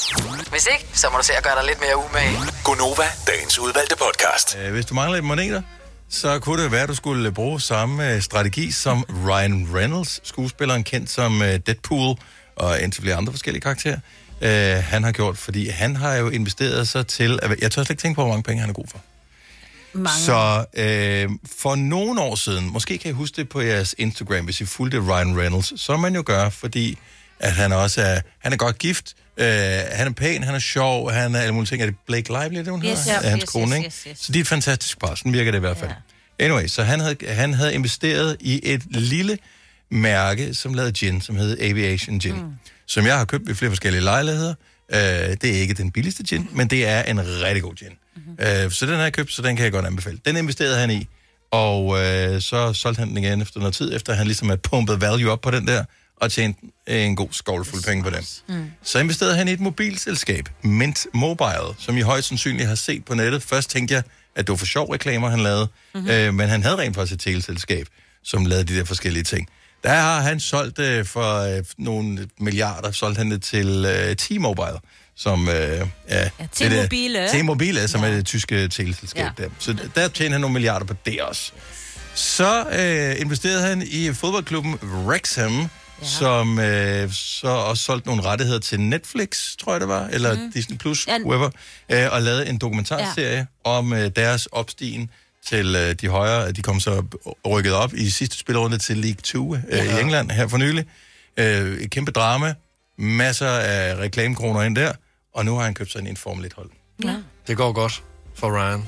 S5: Hvis ikke, så må du se at gøre dig lidt mere umage.
S11: Gunova, dagens udvalgte podcast.
S1: Øh, Hvis du mangler et moneter, så kunne det være, at du skulle bruge samme øh, strategi som Ryan Reynolds, skuespilleren kendt som øh, Deadpool og indtil flere andre forskellige karakterer, øh, han har gjort, fordi han har jo investeret sig til... at- Jeg tør slet ikke tænke på, hvor mange penge han er god for.
S6: Mange.
S1: Så øh, for nogle år siden, måske kan I huske det på jeres Instagram, hvis I fulgte Ryan Reynolds, som man jo gør, fordi at han også er, han er godt gift, øh, han er pæn, han er sjov, han er alle mulige ting. Er det Blake Lively, er det hun
S6: Yes,
S1: hedder?
S6: ja.
S1: Er hans
S6: Yes,
S1: kone,
S6: yes,
S1: ikke?
S6: yes, yes.
S1: Så de er et fantastisk par, sådan virker det i hvert fald. Anyway, så han havde, han havde investeret i et lille mærke, som lavede gin, som hed Aviation Gin, mm. som jeg har købt ved flere forskellige lejligheder. Øh, det er ikke den billigste gin, men det er en rigtig god gin. Mm-hmm. Øh, så den har jeg købt, så den kan jeg godt anbefale. Den investerede han i, og øh, så solgte han den igen efter noget tid, efter han ligesom havde pumpet value op på den der, og tjente en god skovlfuld penge på den.
S4: Mm.
S1: Så investerede han i et mobilselskab, Mint Mobile, som I højst sandsynligt har set på nettet. Først tænkte jeg, at det var for sjov reklamer, han lavede,
S4: Mhm.
S1: mm-hmm. øh, men han havde rent faktisk et teleselskab, som lavede de der forskellige ting. Der har han solgt øh, for øh, nogle milliarder, solgte han det til øh, T-Mobile, som øh, er... det der-
S4: T-Mobile.
S1: T-Mobile, som er det tyske teleselskab
S4: Ja.
S1: der. Så der tjener han nogle milliarder på det også. Så øh, investerede han i fodboldklubben Wrexham, ja. som øh, så også solgte nogle rettigheder til Netflix, tror jeg det var, eller
S2: Mhm.
S1: mm. Disney+, Plus,
S4: Ja.
S1: whoever, øh, og lavede en dokumentarserie ja. om øh, deres opstigen til øh, de højere. De kom så rykket op i sidste spillerunde til League 2 øh, ja. i England her for nylig. Øh, et kæmpe drama, masser af reklamekroner ind der, og nu har han købt sig ind i en Formel 1-hold.
S3: Det går godt for Ryan.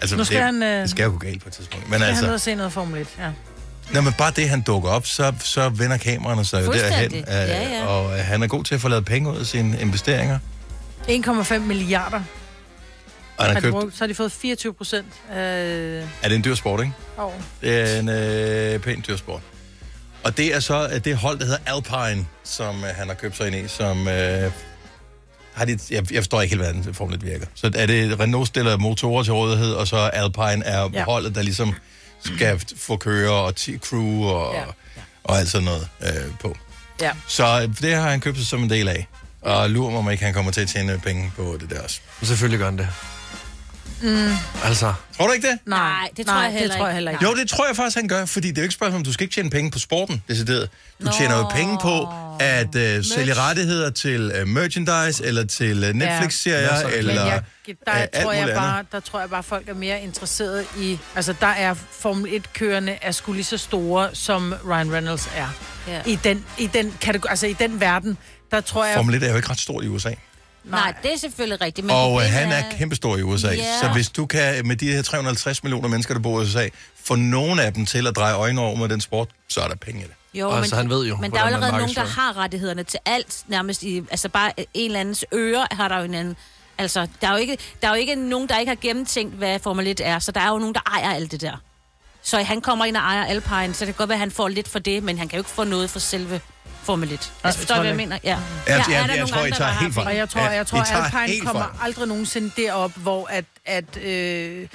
S1: Altså,
S2: Nu skal
S1: det,
S2: han, øh,
S1: det skal jo gå galt på et tidspunkt. Men
S2: Skal
S1: altså,
S2: han ud og se noget Formel 1? Ja.
S1: Nå, men bare det, han dukker op, så, så vender kameraerne sig jo derhen.
S4: Fuldstændig.
S1: Øh,
S4: Ja, ja.
S1: Og øh, han er god til at få lavet penge ud af sine investeringer.
S2: 1,5 milliarder har
S1: Og han har
S2: de
S1: købt,
S2: brugt. Så har de fået 24 procent af
S1: er det en dyr sport, ikke?
S2: over.
S1: Det er en øh, pæn dyr sport. Og det er så øh, det hold, der hedder Alpine, som øh, han har købt sig ind i, som... Øh, har de, jeg, jeg forstår ikke helt, hvordan Formel 1 virker. Så er det Renault stiller motorer til rådighed, og så Alpine er ja.
S2: Ja.
S1: holdet, der ligesom skal få kører og t- crew og, ja.
S2: Ja,
S1: Ja. og alt sådan noget øh, på.
S2: Ja.
S1: Så øh, det har han købt sig som en del af. Og lurer mig, om ikke han kommer til at tjene penge på det der også.
S3: Men Selvfølgelig gør han det. Mm. Altså,
S1: Tror du ikke det?
S4: Nej, det tror jeg heller
S2: det tror jeg
S4: ikke.
S2: heller ikke.
S1: Jo, det tror jeg faktisk, han gør, fordi det er jo ikke et spørgsmål, om du skal ikke tjene penge på sporten, decideret. Du Nå. tjener jo penge på at øh, sælge rettigheder til øh, merchandise, eller til øh, Netflix-serier,
S3: Masser af-
S1: eller
S2: Men
S1: øh,
S2: jeg, der,
S1: alt
S2: tror jeg
S1: muligt andet.
S2: bare, der tror jeg bare, folk er mere interesseret i... Altså, der er Formel 1-kørende er sgu lige så store, som Ryan Reynolds er.
S4: Ja.
S2: Ja. I, den, i, den kategori, altså, I den verden, der tror jeg...
S1: Formel 1 er jo ikke ret stor i USA.
S4: Nej, det er selvfølgelig rigtigt. Men
S1: Og øh,
S4: problemet
S1: han er kæmpestor i USA.
S4: Ja.
S1: Så hvis du kan, med de her 350 millioner mennesker, der bor i USA, få nogen af dem til at dreje øjnene over mod den sport, så er der penge i det.
S4: Jo,
S3: Altså, han ved jo,
S4: Men der er
S3: hvordan
S4: jo
S3: man
S4: allerede nogen, der
S3: markedsfører.
S4: har rettighederne til alt, nærmest i, altså bare en eller andens øre har der jo en anden. Altså, der er jo ikke, der er jo ikke nogen, der ikke har gennemtænkt, hvad Formel 1 er, så der er jo nogen, der ejer alt det der. Så han kommer ind og ejer Alpine, så det kan godt være, at han får lidt for det, men han kan jo ikke få noget for selve Formel 1. Altså, forstår du,
S2: tror
S4: hvad jeg
S2: det
S4: mener? Ja.
S1: jeg-
S4: Her er
S1: jeg-
S4: der
S1: jeg
S4: nogle
S1: tror, I
S4: andre,
S1: tager
S4: der har
S1: helt fejl.
S2: Og jeg tror,
S1: Ja,
S2: jeg tror
S1: I tager helt
S2: Alpine kommer
S1: fejl.
S2: aldrig nogensinde derop, hvor at... at øh,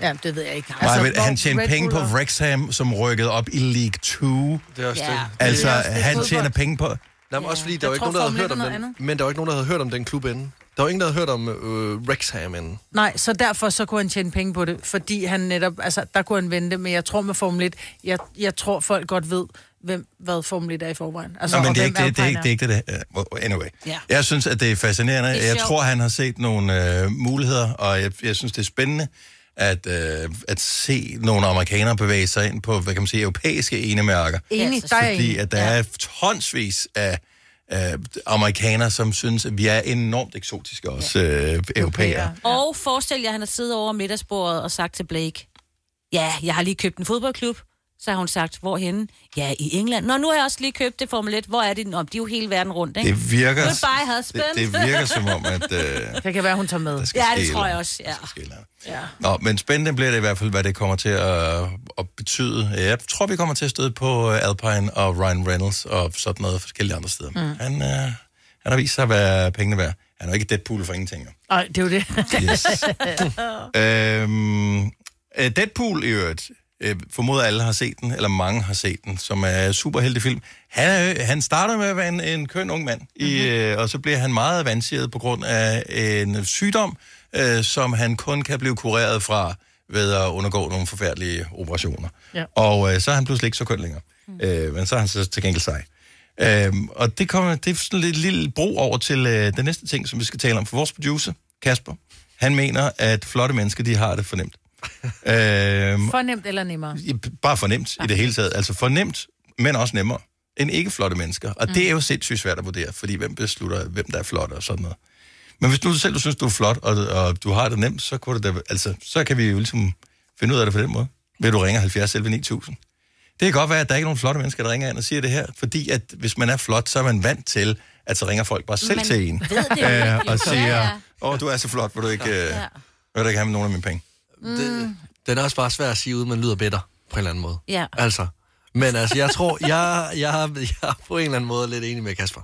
S2: ja, det ved jeg ikke.
S1: Altså, Nej, men
S2: hvor
S1: han tjente
S2: Red
S1: penge på
S2: Bull og-
S1: Wrexham, som rykkede op i League 2.
S3: det er også
S4: Ja.
S3: det.
S1: Altså,
S2: også det,
S1: han
S2: fodbold.
S1: tjener penge på...
S3: Nej, men også fordi, der
S2: Jeg
S3: var ikke
S2: tror,
S3: nogen, der havde hørt
S2: Formel
S3: om
S2: 1 er
S3: den.
S2: noget
S3: Men der var ikke nogen, der havde hørt om den klub inden. Der var ingen, der havde hørt om øh, Rexham inden.
S2: Nej, så derfor så kunne han tjene penge på det, fordi han netop, altså der kunne han vente, men jeg tror med Formel 1, jeg, jeg tror folk godt ved, hvem, hvad Formel 1 er i forvejen. Altså,
S1: Nå, men
S2: og
S1: det er,
S2: hvem
S1: ikke, det, det, er
S2: Alpine
S1: ikke, det er ikke det. det- uh, Anyway.
S4: Ja.
S1: Jeg synes, at det er fascinerende.
S4: Det
S1: Det er
S4: er
S1: jeg
S4: sjovt.
S1: tror, han har set nogle øh, muligheder, og jeg, jeg synes, det er spændende at, øh, at se nogle amerikanere bevæge sig ind på, hvad kan man sige, europæiske enemærker.
S2: Enig, der er jeg
S1: Fordi
S2: enig.
S1: at der er tonsvis af øh, amerikanere, som synes, at vi er enormt eksotiske også, øh, europæere.
S4: Og forestil jer, at han har siddet over middagsbordet og sagt til Blake, ja, jeg har lige købt en fodboldklub. Så har hun sagt, hvorhenne? Ja, i England. Nå, nu har jeg også lige købt det Formel 1. Hvor er det? Nå, de er jo hele verden rundt, ikke?
S1: Det virker,
S4: Goodbye,
S1: det,
S4: husband.
S1: det virker som om, at... Øh,
S2: Det kan være, hun tager med.
S1: der skal
S4: Ja,
S1: ske
S4: det
S1: et
S4: tror jeg
S1: eller andet.
S4: også, ja.
S1: Der skal ske et eller andet. Nå, men spændende bliver det i hvert fald, hvad det kommer til at, at betyde. Jeg tror, vi kommer til at støde på øh, Alpine og Ryan Reynolds og sådan noget forskellige andre steder. Mm. Han, øh, han har vist sig at være pengene værd. Han er jo ikke Deadpool for ingenting. jo.
S2: Nej, det er jo det.
S1: Yes. øhm, øh, Deadpool i øvrigt. Øh, formoder alle har set den, eller mange har set den, som er en superheltefilm. Han, er, jo- han starter med at være en, en køn ung mand, mm-hmm. i, øh, og så bliver han meget avanceret på grund af en sygdom, øh, som han kun kan blive kureret fra ved at undergå nogle forfærdelige operationer.
S2: Ja.
S1: Og øh, så er han pludselig ikke så køn længere. Mm. Øh, men så er han så til gengæld sej. Øhm, og det, kommer, det er sådan lidt lille bro over til øh, den næste ting, som vi skal tale om. For vores producer, Kasper, han mener, at flotte mennesker, de har det fornemt. øhm,
S2: Fornemt eller nemmere.
S1: bare fornemt i det hele taget. Altså fornemt, men også nemmere end ikke flotte mennesker. Og mm. det er jo sindssygt svært at vurdere, fordi hvem beslutter, hvem der er flot og sådan noget. Men hvis du selv du synes, du er flot, og, og du har det nemt, så, kunne det da, altså, så kan vi jo ligesom finde ud af det på den måde. Ved at du ringer 70 11 9000. Det kan godt være, at der ikke er nogen flotte mennesker, der ringer ind og siger det her, fordi at hvis man er flot, så er man vant til, at så ringer folk bare selv
S4: Man
S1: til en.
S4: ved det jo
S1: øh,
S4: ikke, jo.
S1: og siger,
S4: Ja,
S1: åh,
S4: ja.
S1: oh, du er så flot, vil du ikke, øh, vil du ikke have nogen af mine penge?
S3: Mm. Det, den er også bare svær at sige, uden man lyder bedre på en eller anden måde.
S4: Ja.
S3: Altså, Men altså, jeg tror, jeg, jeg, jeg er på en eller anden måde lidt enig med Kasper.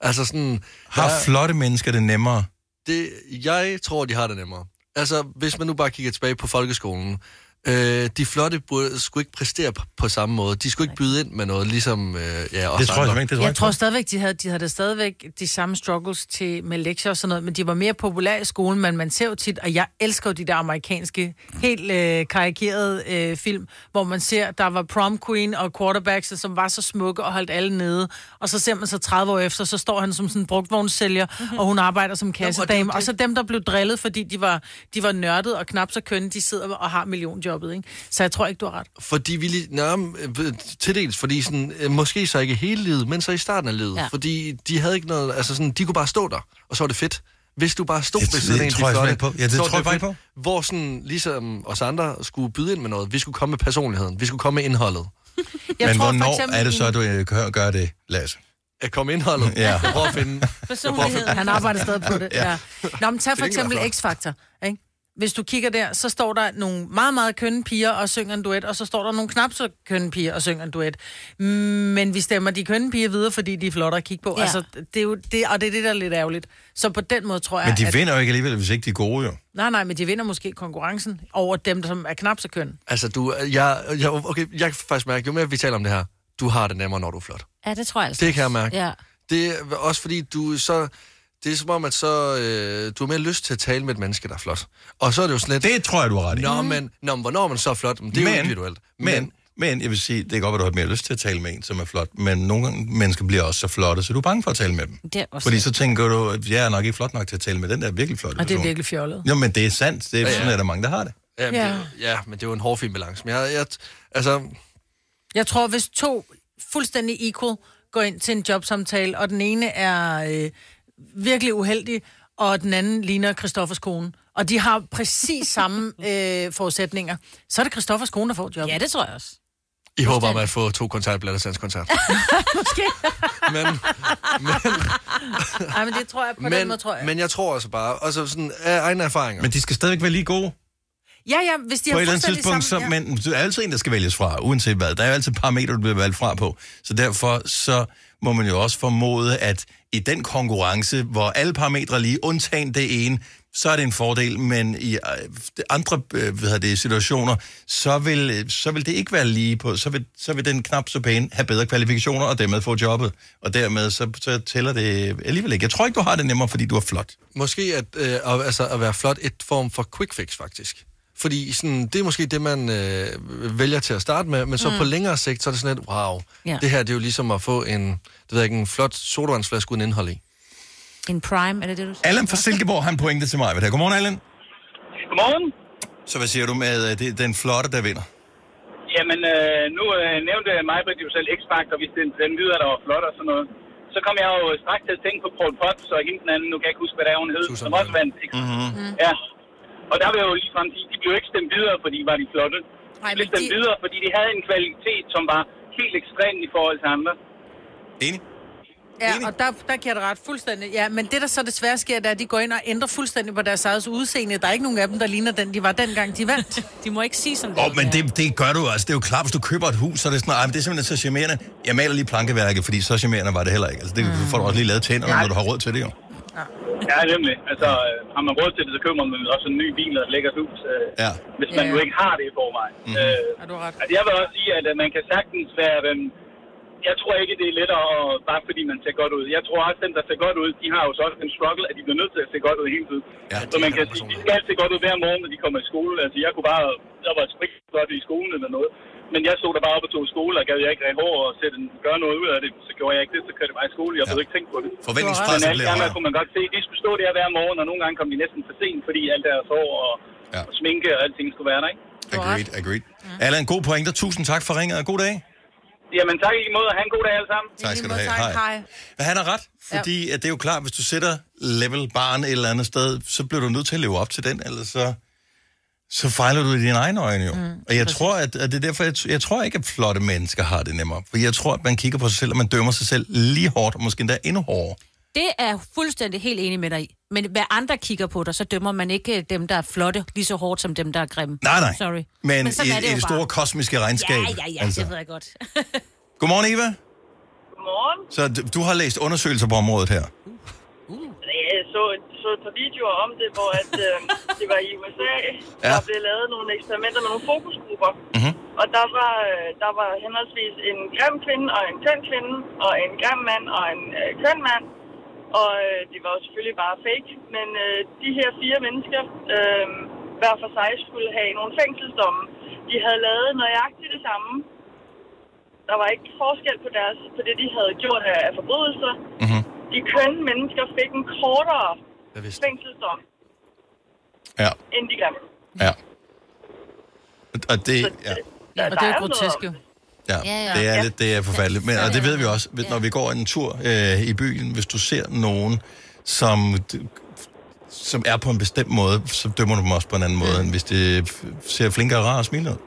S3: Altså sådan...
S1: Har
S3: jeg,
S1: flotte mennesker det nemmere?
S3: det, jeg tror, de har det nemmere. Altså, hvis man nu bare kigger tilbage på folkeskolen. Øh, de flotte burde, skulle ikke præstere på, på samme måde. De skulle ikke byde ind med noget, ligesom... Øh, ja, os
S1: Det tror jeg
S3: andre.
S1: simpelthen ikke. Det tror
S2: Jeg
S1: jeg,
S2: tror stadigvæk, de havde, de havde da stadigvæk de samme struggles til, med lektier og sådan noget, men de var mere populære i skolen, men man ser jo tit, og jeg elsker jo de der amerikanske, helt øh, karikerede øh, film, hvor man ser, der var prom queen og quarterbacks, som var så smukke og holdt alle nede, og så ser man så 30 år efter, så står han som sådan en brugtvognssælger, mm-hmm. og hun arbejder som kassedame, og, og så dem, der blev drillet, fordi de var, de var nørdet og knap så kønne, de sidder og har millionjobbet, ikke? Så jeg tror ikke, du har ret.
S3: Fordi vi lige... Nå, men, øh, til dels, fordi sådan, øh, måske så ikke hele livet, men så i starten af livet.
S4: Ja.
S3: Ja. Fordi de havde ikke noget... Altså sådan, de kunne bare stå der, og så var det fedt. Hvis du bare stod
S1: Det-
S3: ved
S1: det
S3: siden af en af
S1: tror jeg
S3: de flotte,
S1: simpelthen ikke på. Ja, det
S3: så var
S1: tror jeg bare
S3: fedt.
S1: ikke
S3: Hvor sådan, ligesom os andre skulle byde ind med noget. Vi skulle komme med personligheden. Vi skulle komme med indholdet.
S2: Jeg
S1: Men
S2: tror for
S1: hvornår
S2: eksempel
S1: er det så,
S2: i-
S1: at du øh, gør- gør det, Lasse?
S3: At komme med indholdet.
S1: Ja.
S3: Jeg prøver at finde...
S4: Personlighed.
S2: Han arbejder stadig på det, ja. ja. Nå, men tag for
S3: Det kan
S2: eksempel
S3: være flot.
S2: X-Factor, ikke? Hvis du kigger der, så står der nogle meget, meget kønne piger og synger en duet, og så står der nogle knap så kønne piger og synger en duet. Mm, Men vi stemmer de kønne piger videre, fordi de er flotte at kigge på. Ja.
S4: Ja.
S2: Altså, det er jo det, og det er det, der er lidt ærgerligt. Så på den måde tror jeg,
S1: Men de
S2: at...
S1: vinder jo ikke alligevel, hvis ikke de er gode, jo.
S2: Nej, nej, men de vinder måske konkurrencen over dem, som er knap så kønne.
S3: Altså, du, jeg, jeg, okay, jeg kan faktisk mærke, jo mere vi taler om det her, du har det nemmere, når du er flot.
S4: Ja, det tror jeg altså.
S3: Det kan jeg mærke.
S4: Ja.
S3: Det er også fordi, du så... Det er som om, at så, øh, du har mere lyst til at tale med et menneske, der er flot. Og så er det jo sådan lidt...
S1: Det tror jeg, du har ret i.
S2: Mhm.
S3: Nå, men, nå, men hvornår er man så flot? Men det er men, jo individuelt.
S1: Men, men jeg vil sige, det kan godt være, du har mere lyst til at tale med en, som er flot, men nogle gange mennesker bliver også så flotte, så du er bange for at tale med dem.
S4: Det er også
S1: Fordi så tænker du, at jeg er nok ikke flot nok til at tale med den der virkelig flotte
S2: Og det er
S1: person.
S2: virkelig fjollet.
S1: Jo, men det er sandt. Det er, ja, ja. Sådan er der mange, der har det.
S3: ja, men,
S2: Ja.
S3: ja. Det, ja, men det er jo en hårfin balance. Men jeg, jeg, altså,
S2: Jeg tror, hvis to fuldstændig equal går ind til en jobsamtale, og den ene er øh, virkelig uheldig, og den anden ligner Christoffers kone, og de har præcis samme øh, forudsætninger, så er det Christoffers kone, der får jobbet.
S4: Ja, det tror jeg også.
S3: I håber om at få to koncertblader til hans koncert. Måske. men,
S2: Nej, men det tror jeg på men, den
S3: men,
S2: måde, tror jeg. Men,
S3: men jeg tror altså bare, altså sådan af egne erfaringer.
S1: Men de skal stadigvæk være lige gode.
S2: ja, ja, hvis de
S1: på
S2: har
S1: et eller andet
S2: fuldstændig
S1: tidspunkt,
S2: samme...
S1: så, men der er altid en, der skal vælges fra, uanset hvad. Der er jo altid parametre, du bliver valgt fra på. Så derfor så må man jo også formode, at i den konkurrence, hvor alle parametre er lige, undtagen det ene, så er det en fordel, men i øh, andre øh, hvad hedder det, situationer, så vil, øh, så vil det ikke være lige på, så vil, så vil den knap så pæne have bedre kvalifikationer, og dermed få jobbet. Og dermed så, så tæller det alligevel ikke. Jeg tror ikke, du har det nemmere, fordi du er flot.
S3: Måske at, øh, at- altså at være flot et form for quick fix, faktisk. Fordi sådan, det er måske det, man øh, vælger til at starte med, men så mm.
S2: Mhm.
S3: på længere sigt, så er det sådan lidt, wow,
S4: Ja.
S3: ja. det her det er jo ligesom at få en, det ved jeg ikke, en flot sodavandsflaske uden indhold i.
S4: En prime, er det det, du siger?
S1: Allan fra Silkeborg, han pointe til mig. ved det her. Godmorgen, Allan.
S9: Godmorgen.
S1: Så hvad siger du med øh, det, den flotte, der vinder?
S9: Jamen, øh, nu øh, nævnte mig, at jo selv X-Factor, hvis den, den lyder, der var flot og sådan noget. Så kom jeg jo straks til at tænke på Paul Potts og hende den anden, nu kan jeg ikke huske, hvad der hun hed,
S3: Susan
S9: som også
S3: Boyle.
S9: vandt.
S2: Mm.
S9: Mm-hmm. Ja. Og der vil jeg jo ligefrem sige, de blev jo ikke stemt videre, fordi de var de flotte.
S2: Nej,
S9: De
S2: men
S9: blev stemt
S2: de-
S9: videre, fordi de havde en kvalitet, som var helt ekstrem i forhold til andre.
S1: Enig?
S2: Ja, og der, der giver det ret fuldstændig. Ja, men det, der så desværre sker, det er, at de går ind og ændrer fuldstændig på deres eget udseende. Der er ikke nogen af dem, der ligner den, de var dengang, de vandt.
S4: De må ikke sige som det.
S1: Åh,
S4: er.
S1: oh, men det, det gør du altså. Det er jo klart, hvis du køber et hus, så er det sådan, "Ej, men det er simpelthen så charmerende. Jeg maler lige plankeværket, fordi så charmerende var det heller ikke. Altså, det får du også lige lavet tænder, når du har råd til det jo.
S9: Ja, nemlig. Altså, øh, har man råd til det, så køber man også en ny bil og et lækkert hus, øh,
S1: Ja.
S9: hvis man
S2: Ja.
S9: nu ikke har det i forvejen. Mm-hmm. Øh,
S2: Ja, du har ret.
S9: Altså, jeg vil også sige, at øh, man kan sagtens være... Øh, jeg tror ikke, det er lettere, at- bare fordi man ser godt ud. Jeg tror også, at dem, der ser godt ud, de har jo så også en struggle, at de bliver nødt til at se godt ud hele tiden.
S1: Ja,
S9: Ja,
S1: det
S9: så man
S3: er
S9: kan
S3: der
S9: sige, de
S3: personligt.
S9: skal se godt ud hver morgen, når de kommer i skole. Altså, jeg kunne bare... Jeg var sprit godt i skolen eller noget. Men jeg stod der bare op og tog skole, og gad jeg ikke have hår og sætte, en- gøre noget ud af det. Så gjorde jeg ikke det, så kørte jeg bare i skole. Jeg
S1: Ja.
S9: ja. ikke tænkt på det. Men
S1: Forventningspresset
S9: alle
S1: bliver
S9: de andre
S1: højere.
S9: kunne man godt se, de skulle stå der hver morgen, og nogle gange kom de næsten for sent, fordi alt deres hår og,
S1: Ja.
S9: ja. og sminke og alting skulle være der, ikke?
S1: Agreed, agreed. Allan, god pointe. Tusind tak for ringet, og god dag.
S9: Jamen tak i lige måde, og have en god dag alle sammen.
S1: Tak skal du
S2: måde,
S1: have.
S2: tak.
S1: Hej.
S2: Hej.
S1: Men han har ret, fordi at det er jo klart, hvis du sætter level barn et eller andet sted, så bliver du nødt til at leve op til den, ellers så, så fejler du i dine egne øjne jo. Mm, og jeg tror, at, at det er derfor, jeg, t- jeg tror ikke, at flotte mennesker har det nemmere. For jeg tror, at man kigger på sig selv, og man dømmer sig selv lige hårdt, og måske endda endnu hårdere.
S4: Det er jeg fuldstændig helt enig med dig i. Men hvad andre kigger på dig, så dømmer man ikke øh, dem, der er flotte, lige så hårdt som dem, der er grimme.
S1: Nej, nej.
S4: Sorry.
S1: Men,
S4: sådan
S1: i,
S4: er
S1: i
S4: det jo
S1: det
S4: bare.
S1: store kosmiske regnskab.
S4: Ja, ja, ja, altså. det ved jeg godt.
S1: Godmorgen, Eva.
S12: Godmorgen.
S1: Så du, du har læst undersøgelser på området her.
S12: Jeg så, så et par videoer om det, hvor at, øh, det var i USA, ja. der blev lavet nogle eksperimenter med nogle fokusgrupper.
S1: Mhm.
S12: Og der var, øh, der var henholdsvis en grim kvinde og en køn kvinde, og en grim mand og en øh, køn mand. Og øh, det var jo selvfølgelig bare fake, men øh, de her fire mennesker, øh, hver for sig, skulle have nogle fængselsdomme. De havde lavet nøjagtigt det samme. Der var ikke forskel på, deres, på det, de havde gjort af, af forbrydelser.
S1: Mhm.
S12: De kønne mennesker fik en kortere
S3: Jeg vidste.
S12: fængselsdom
S1: Ja,
S12: end de grimme.
S1: ja. Og- Og det, ja,
S12: Der,
S2: Og det er jo
S12: noget
S2: grotesk
S12: om
S2: jo.
S1: ja,
S2: ja.
S1: det er
S2: Ja.
S1: lidt det er forfærdeligt. Men, og det ved vi også, ved- når vi går en tur øh, i byen, hvis du ser nogen, som, som er på en bestemt måde, så dømmer du dem også på en anden måde, end hvis det f- ser flinkere og rar og smilende ud.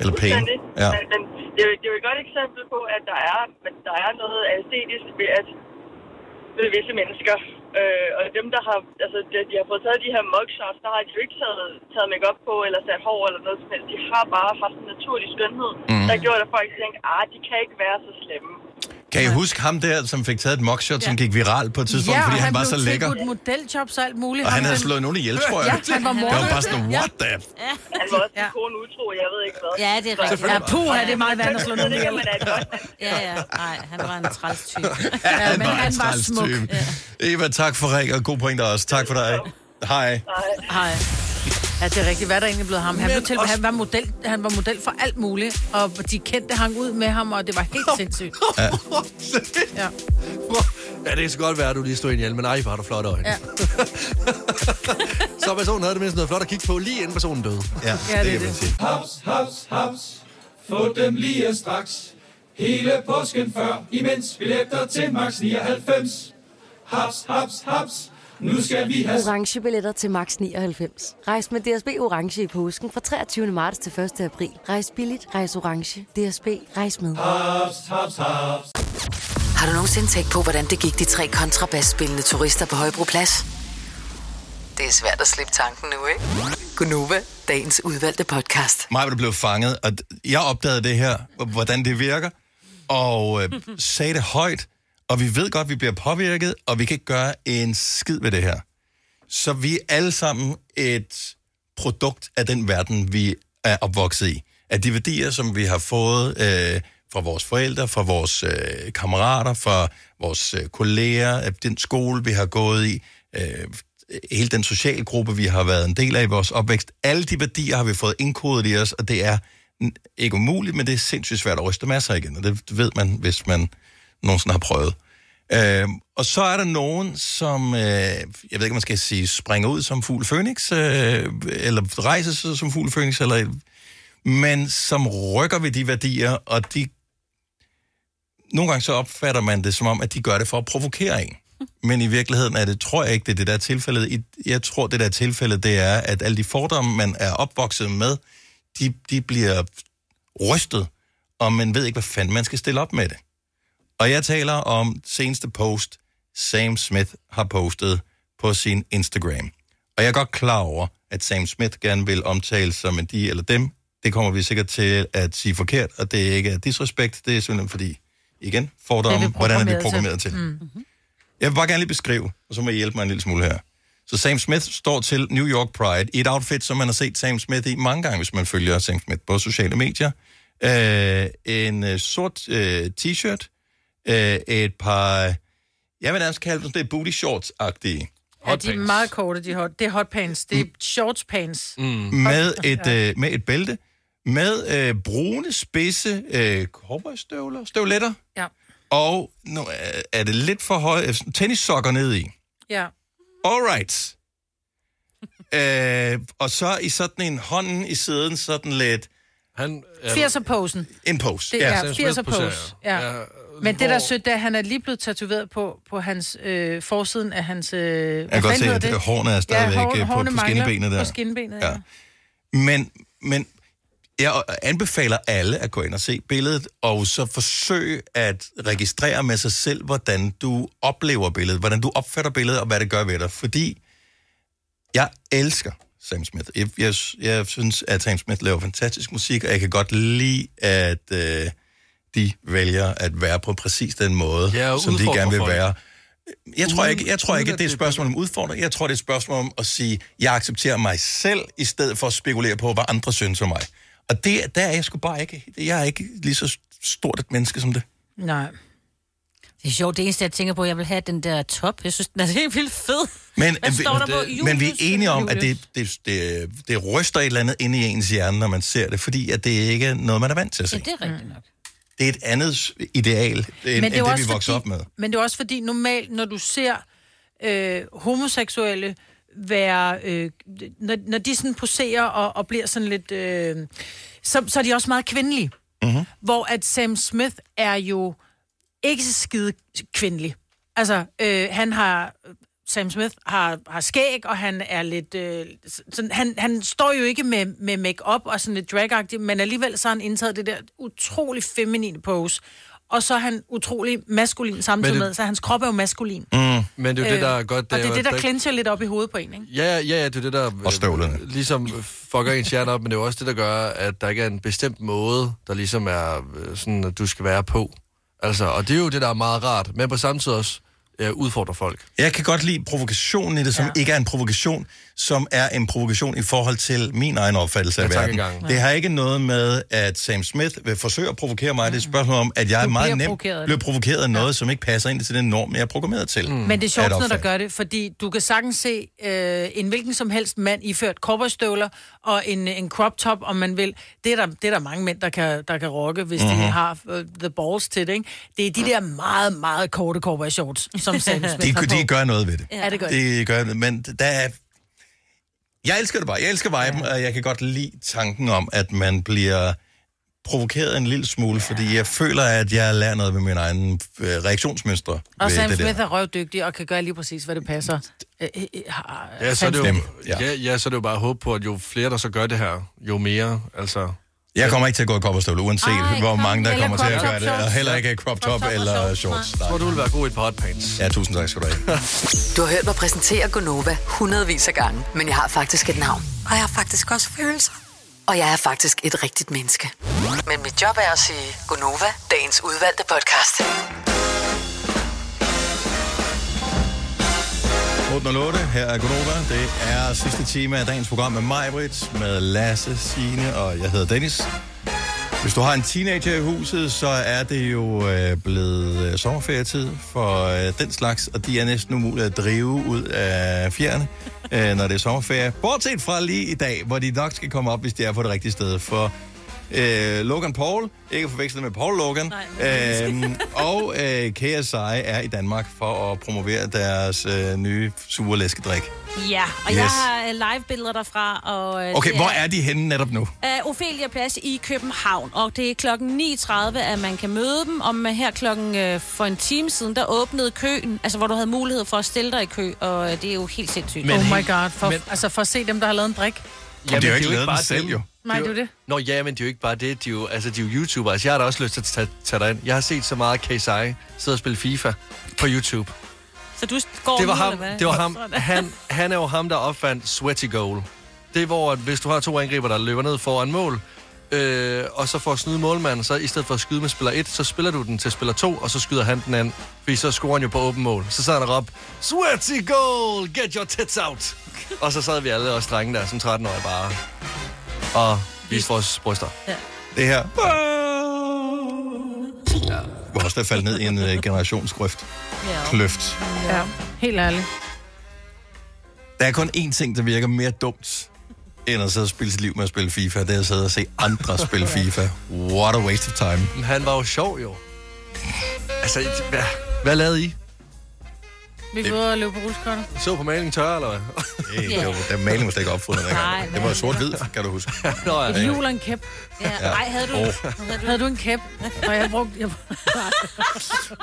S1: Eller pæne.
S12: fuldstændig.
S1: Ja.
S12: Men, men det, er, jo- det er jo et godt eksempel på, at der er, at der er noget æstetisk ved, at, ved visse mennesker. Øh, og dem, der har, altså, de, de har fået taget de her mugshots, der har de jo ikke taget, taget makeup på, eller sat hår, eller noget som helst. De har bare haft en naturlig skønhed,
S1: Mhm.
S12: mm. der gjorde, at folk tænkte, ah, de kan ikke være så slemme.
S1: Kan I huske ham der, som fik taget et mockshot, som
S2: Ja.
S1: gik viralt på et tidspunkt, fordi han, var så
S2: blev
S1: lækker?
S2: tilbudt modeljobs og alt muligt.
S1: Og han
S2: Ham
S1: havde
S2: den-
S1: slået nogen ihjel, tror jeg.
S2: Ja, han var morder.
S1: Det var bare sådan, what the...
S12: Han var også en kone utro, jeg ved ikke hvad.
S4: Ja, det er
S12: Så-
S4: rigtigt.
S2: Ja, puha, det er meget værd at slå
S12: Så
S2: nogen
S12: det
S2: ihjel.
S12: kan man da godt.
S4: Ja, ja. Nej, han var en træls type.
S2: Ja, men
S1: en
S2: han var
S1: træls
S2: smuk.
S1: type. Eva, tak for ring, og god pointe også. Tak for dig. Hej.
S2: Hej. Ja, det er rigtigt. Hvad er der egentlig blevet ham? Han,
S1: Men
S2: blev til,
S1: også-
S2: han, var model, han var model for alt muligt, og de kendte hang ud med ham, og det var helt sindssygt. Ja.
S3: Ja, det kan så godt være, at du lige stod ind ihjel, men ej, hvor har du flotte øjne.
S2: Ja.
S3: Ja. så personen havde det mindst noget flot at kigge på, lige inden personen døde.
S1: Ja,
S2: Ja, det er det.
S13: Haps, haps, haps. Få dem lige straks. Hele påsken før, imens billetter til max 99. Haps, haps, haps. Nu skal vi have...
S14: orange billetter til max 99. Rejs med DSB orange i påsken fra 23. marts til 1. april. Rejs billigt, rejs orange. DSB rejs med.
S13: Haps, haps, haps.
S5: Har du nogensinde tænkt på, hvordan det gik de tre kontrabasspillende turister på Højbroplads? Det er svært at slippe tanken nu, ikke? Gunova, dagens udvalgte podcast.
S1: Maja, du blev fanget, og d- jeg opdagede det her, h- hvordan det virker, og øh, sagde det højt, og vi ved godt, vi bliver påvirket, og vi kan ikke gøre en skid ved det her. Så vi er alle sammen et produkt af den verden, vi er opvokset i. Af de værdier, som vi har fået øh, fra vores forældre, fra vores øh, kammerater, fra vores øh, kolleger, af den skole, vi har gået i, øh, hele den sociale gruppe, vi har været en del af i vores opvækst. Alle de værdier har vi fået indkodet i os, og det er n- ikke umuligt, men det er sindssygt svært at ryste masser igen, og det ved man, hvis man nogensinde har prøvet. Øh, og så er der nogen, som, øh, jeg ved ikke, om man skal sige, springer ud som fugl Phoenix, øh, eller rejser sig som fugl Phoenix, eller, men som rykker ved de værdier, og de, nogle gange så opfatter man det som om, at de gør det for at provokere en. Men i virkeligheden er det, tror jeg ikke, det er det der tilfælde. Jeg tror, det der tilfælde, det er, at alle de fordomme, man er opvokset med, de, de bliver rystet, og man ved ikke, hvad fanden man skal stille op med det. Og jeg taler om seneste post, Sam Smith har postet på sin Instagram. Og jeg er godt klar over, at Sam Smith gerne vil omtales som en de eller dem. Det kommer vi sikkert til at sige forkert, og det er ikke af disrespekt, det er simpelthen fordi, igen, fordomme, hvordan er vi programmeret til. Mm. Jeg vil bare gerne lige beskrive, og så må I hjælpe mig en lille smule her. Så Sam Smith står til New York Pride i et outfit, som man har set Sam Smith i mange gange, hvis man følger Sam Smith på sociale medier. Øh, en øh, sort øh, t-shirt, øh, et par, jeg vil nærmest kalde dem sådan lidt booty shorts-agtige,
S2: Ja, de er meget korte, de hot. Det er hotpants. Det er shortspants.
S1: mm. med, et, øh, med et bælte, med øh, brune, spidse øh, cowboystøvler, støvletter,
S2: Ja.
S1: og nu øh, er det lidt for høje, øh, tennissokker ned i.
S2: Ja.
S1: Alright. øh, og så i sådan en hånden i siden, sådan lidt...
S3: Han,
S2: 80'er-posen.
S1: En pose.
S2: Det er 80'er pose. Ja. Men det, der er sødt, det er, at han er lige blevet tatoveret på, på hans, øh, forsiden af hans... Øh, jeg
S1: kan godt se, at øh, hårene er stadigvæk, øh, på- på skinnebenet der.
S2: På skinnebenet, ja.
S1: Ja. Men, men jeg anbefaler alle at gå ind og se billedet, og så forsøg at registrere med sig selv, hvordan du oplever billedet, hvordan du opfatter billedet, og hvad det gør ved dig. Fordi jeg elsker Sam Smith. Jeg, jeg, jeg synes, at Sam Smith laver fantastisk musik, og jeg kan godt lide, at øh, de vælger at være på præcis den måde,
S3: Ja, og
S1: som de
S3: udfordre
S1: gerne vil
S3: folk.
S1: være. Jeg tror
S3: Uden-
S1: ikke, jeg tror
S3: uden
S1: ikke
S3: at
S1: at det er et
S3: det-
S1: spørgsmål om udfordring. Jeg tror, det er et spørgsmål om at sige, jeg accepterer mig selv, i stedet for at spekulere på, hvad andre synes om mig. Og det, der er jeg sgu bare ikke. Jeg er ikke lige så stort et menneske som det.
S2: Nej.
S4: Det er sjovt, det eneste, jeg tænker på, jeg vil have den der top. Jeg synes, den er helt vildt fed.
S1: Men,
S4: Hvad står der på?
S1: det, men vi er
S4: Julius?
S1: enige om, at
S4: Julius.
S1: det, det, det, det ryster et eller andet ind i ens hjerne, når man ser det, fordi at det ikke er noget, man er vant til at se.
S2: Ja, det er rigtigt nok.
S1: Det er et andet ideal, end, det, end
S2: jo
S1: det
S2: også
S1: vi voksede
S2: fordi,
S1: op med.
S2: Mm. Men det er også fordi, normalt, når du ser øh, homoseksuelle være... Øh, når, når de sådan poserer og, og bliver sådan lidt... Øh, så, så er de også meget kvindelige.
S15: Mm-hmm.
S2: Hvor at Sam Smith er jo ikke så skide kvindelig. Altså, øh, han har... Sam Smith har, har skæg, og han er lidt... Øh, sådan, han, han står jo ikke med, med make-up og sådan lidt dragagtig, men alligevel så har han indtaget det der utrolig feminine pose. Og så er han utrolig maskulin samtidig
S3: Men det-
S2: med, så hans krop er jo maskulin. Øh,
S3: Mm. Men det er jo det, der er godt.
S2: og det
S3: jo,
S2: er
S3: at
S2: det, der
S3: ikke-
S2: clincher lidt op i hovedet på en, ikke?
S3: Ja, ja, ja, det er det, der... Og støvlerne. Øh, ligesom fucker ens hjerne op, men det er jo også det, der gør, at der ikke er en bestemt måde, der ligesom er øh, sådan, at du skal være på. Altså, og det er jo det, der er meget rart, men på samme tid også øh, udfordrer folk.
S1: Jeg kan godt lide provokationen i det, som ja. ikke er en provokation, som er en provokation i forhold til min egen opfattelse af
S3: Ja, tak
S1: verden.
S3: engang.
S1: Det har ikke noget med, at Sam Smith vil forsøge at provokere mig. Det er et spørgsmål om, at jeg er meget
S2: Mm. bliver
S1: nemt
S2: provokeret af
S1: bliver
S2: det.
S1: provokeret af noget, som ikke passer ind til den norm, jeg er programmeret til. Mm.
S2: Men det er sjovt, når der gør det, fordi du kan sagtens se øh, en hvilken som helst mand iført cowboystøvler og en, en crop top, om man vil. Det er der, det er der mange mænd, der kan, der kan rocke, hvis mm-hmm.
S1: Mhm.
S2: de har uh, the balls til det. Ikke? Det er de der meget, meget korte cowboy shorts, som Sam Smith
S1: De,
S2: har på.
S1: de gør noget ved det.
S2: Ja, det gør de.
S1: Det gør det, men der er... Jeg elsker det bare. Jeg elsker viben, og jeg kan godt lide tanken om, at man bliver provokeret en lille smule, ja. fordi jeg føler, at jeg lærer noget ved mine egne øh, reaktionsmønstre.
S2: Og
S1: ved
S2: Sam
S1: det der.
S2: Smith er røvdygtig og kan gøre lige præcis, hvad det passer. Øh, øh, øh, har-
S3: Ja, så er
S2: Sam
S3: det jo,
S2: Smith.
S3: ja. Ja, ja, så er det jo bare at håbe på, at jo flere, der så gør det her, jo mere, altså...
S1: Jeg kommer ikke til at gå i kopperstøvle, uanset Ej, hvor mange, der
S3: eller
S1: kommer til at
S3: crop
S1: gøre det,
S3: top
S1: og
S3: shorts.
S1: heller ikke crop top eller shorts.
S3: Jeg tror, du vil være god i et par hotpants.
S1: Ja, tusind tak skal du have.
S5: Du har hørt mig præsentere Gonova hundredvis af gange, men jeg har faktisk et navn. Og jeg har faktisk også følelser. Og jeg er faktisk et rigtigt menneske. Men mit job er at sige Gonova, dagens udvalgte podcast.
S1: 808, her er Gunova. Det er sidste time af dagens program med mig, Britt, med Lasse, Signe og jeg hedder Dennis. Hvis du har en teenager i huset, så er det jo øh, blevet øh, sommerferietid for øh, den slags, og de er næsten umulige at drive ud af fjerne, øh, når det er sommerferie. Bortset fra lige i dag, hvor de nok skal komme op, hvis de er på det rigtige sted. For øh, Logan Paul, ikke forvekslet med Paul Logan,
S16: nej.
S1: øhm, og øh, KSI er i Danmark for at promovere deres øh, nye sure læskedrik.
S4: Ja, og yes. jeg
S1: Yes.
S4: har øh, live-billeder derfra. Og, øh,
S1: Okay,
S4: det
S1: hvor er de henne netop nu?
S4: Uh, Ophelia Plads i København, og det er klokken 9.30, at man kan møde dem, og man her klokken øh, for en time siden, der åbnede køen, altså hvor du havde mulighed for at stille dig i kø, og øh, det er jo helt sindssygt.
S2: Men Oh my god, for, men... altså for at se dem, der har lavet en brik.
S1: Jamen, det er jo ikke lavet
S3: bare
S1: den selv,
S3: dem.
S1: jo.
S2: Nej, det er jo det.
S3: Nå ja, men det er jo ikke bare det. De er jo, altså, de er jo YouTubere. Altså, jeg har da også lyst til at tage, tage dig ind. Jeg har set så meget KSI sidde og spille FIFA på YouTube.
S4: Så du går
S3: det var
S4: nu,
S3: ham,
S4: eller hvad?
S3: det var ham. Han, han er jo ham, der opfandt sweaty goal. Det er, hvor at hvis du har to angriber, der løber ned foran mål, øh, og så får at snyde målmanden, så i stedet for at skyde med spiller 1, så spiller du den til spiller 2, og så skyder han den anden, fordi så scorer han jo på åben mål. Så sad han og råbte, sweaty goal, get your tits out. og så sad vi alle os drenge der, som 13-årige bare, og viste vores bryster.
S1: Det her. Ja. Du har også der faldet ned i en øh, generationsgrøft.
S2: Ja.
S1: Kløft.
S2: Ja, helt ærligt.
S1: Der er kun én ting, der virker mere dumt, end at sidde og spille sit liv med at spille FIFA. Det er at sidde og se andre spille FIFA. What a waste of time.
S3: Men han var jo sjov, jo. Altså, hvad, hvad lavede I?
S2: Vi er ude og løbe på rulleskøjter.
S3: Så på malingen tør, eller hvad?
S1: Det, det var, den maling var slet ikke opfundet
S2: Nej,
S1: dengang. Det var
S2: nej.
S1: sort-hvid, kan du huske.
S3: Nå, ja.
S2: Et hjul og en kæp. Ja.
S1: Ja. Ej, havde du- Åh.
S2: havde du en kæp? Og jeg brugte... Jeg...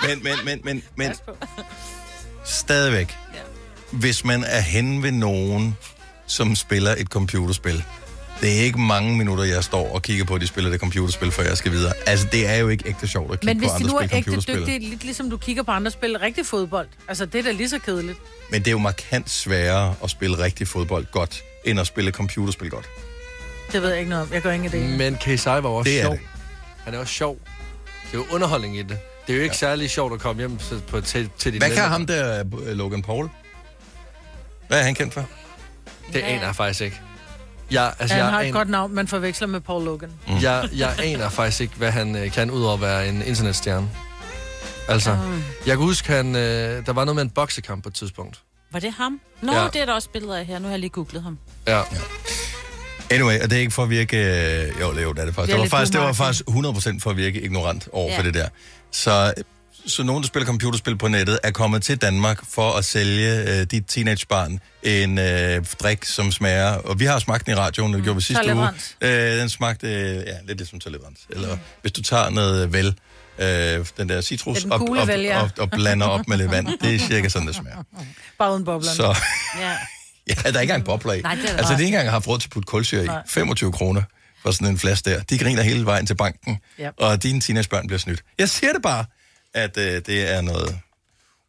S1: Men, men, men, men, men, stadigvæk, hvis man er hen ved nogen, som spiller et computerspil, Det er ikke mange minutter, jeg står og kigger på, at de spiller det computerspil, før jeg skal videre. Altså, det er jo ikke ægte sjovt at
S2: Men
S1: kigge
S2: hvis
S1: på
S2: de
S1: andre
S2: nu er
S1: spil
S2: ægte
S1: computerspil.
S2: dygtige, lidt ligesom du kigger på andre spil, rigtig fodbold. Altså, det er da lige så kedeligt.
S1: Men det er jo markant sværere at spille rigtig fodbold godt, end at spille computerspil godt.
S2: Det ved jeg ikke noget om. Jeg gør ingen idé.
S3: Men KSI var også
S1: Det er
S3: sjov.
S1: det.
S3: Han er også sjov. Det er jo underholdning i det. Det er jo ikke ja. særlig sjovt at komme hjem til, på, til, til dit
S1: Hvad kan ham der, øh, Logan Paul? Hvad er han kendt for?
S3: Det aner jeg faktisk ikke. Jeg,
S2: Altså,
S3: altså,
S2: han
S3: jeg,
S2: har et
S3: aner,
S2: godt navn, man forveksler med Paul Logan.
S3: jeg, jeg aner faktisk ikke, hvad han øh, kan, udover at være en internetstjerne. Altså,
S4: Mm.
S3: jeg kan huske, han, øh, der var noget med en boksekamp på et tidspunkt.
S4: Var det ham? Nå,
S3: Ja.
S4: ja. det er der også billeder af her. Nu har jeg lige googlet ham.
S3: Ja.
S1: Anyway, og det er ikke for at virke... øh, Jo, jo det er det
S4: Det
S1: faktisk.
S4: er
S1: Det, var
S4: lidt
S1: faktisk, det var
S4: umarkant.
S1: faktisk 100% for at virke ignorant over
S4: Ja.
S1: for det der. Så, øh, så nogen, der spiller computerspil på nettet, er kommet til Danmark for at sælge øh, dit teenagebarn en øh, drik, som smager... Og vi har smagt den i radioen, det gjorde vi sidste uge.
S2: Tolerant.
S1: Øh, den smagte øh, ja, lidt ligesom tolerant. Eller hvis du tager noget vel, øh, den der citrus,
S2: Ja, den
S1: op,
S2: gule
S1: op,
S2: vel, ja.
S1: op, og blander op med lidt vand. Det er cirka sådan, det smager.
S2: Bare uden boblerne.
S1: Så...
S4: Ja.
S1: Ja, der er ikke engang bobler i.
S2: Nej, det er der
S1: altså, de
S2: ikke.
S1: har ikke engang haft råd til at putte kulsyre i.
S2: Nej.
S1: 25 kroner for sådan en flaske der. De griner hele vejen til banken,
S2: Ja.
S1: og dine teenagebørn bliver snydt. Jeg siger det bare, at øh, det er noget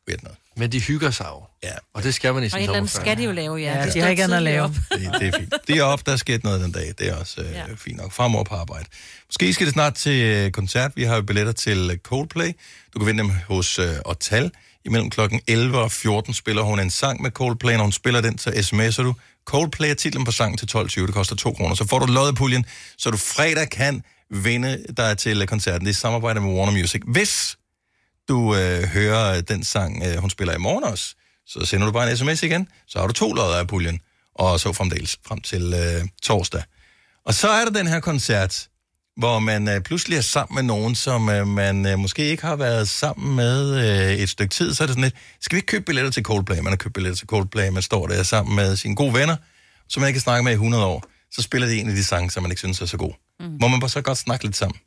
S1: weird noget.
S3: Men de hygger sig jo.
S1: Ja.
S3: Og det skal man i
S4: Og
S3: sin
S4: et eller andet
S3: sommerferie.
S4: skal de jo lave, ja.
S2: Ja,
S4: De
S2: de
S4: står
S2: har ikke andet at
S4: tidligt
S2: lave.
S4: op.
S1: Det, det er fint. Det er op, der er sket noget den dag. Det er også øh, ja.
S4: Ja.
S1: fint nok. Fremover på arbejde. Måske skal det snart til øh, koncert. Vi har jo billetter til øh, Coldplay. Du kan vinde dem hos øh, Otal. Imellem klokken 11 og 14 spiller hun en sang med Coldplay. Når hun spiller den, så sms'er du. Coldplay er titlen på sangen til 12.20. Det koster 2 kroner. Så får du loddepuljen, så du fredag kan vinde dig til øh, koncerten. Det er i samarbejde med Warner Music. Hvis du øh, hører øh, den sang, øh, hun spiller i morgen også, så sender du bare en sms igen, så har du to lodder af puljen, og så fremdeles frem til øh, torsdag. Og så er der den her koncert, hvor man øh, pludselig er sammen med nogen, som øh, man øh, måske ikke har været sammen med øh, et stykke tid. Så er det sådan lidt, skal vi ikke købe billetter til Coldplay? Man har købt billetter til Coldplay, man står der sammen med sine gode venner, som man ikke kan snakke med i 100 år. Så spiller de en af de sange, som man ikke synes er så god. Mm. Må man bare så godt snakke lidt sammen?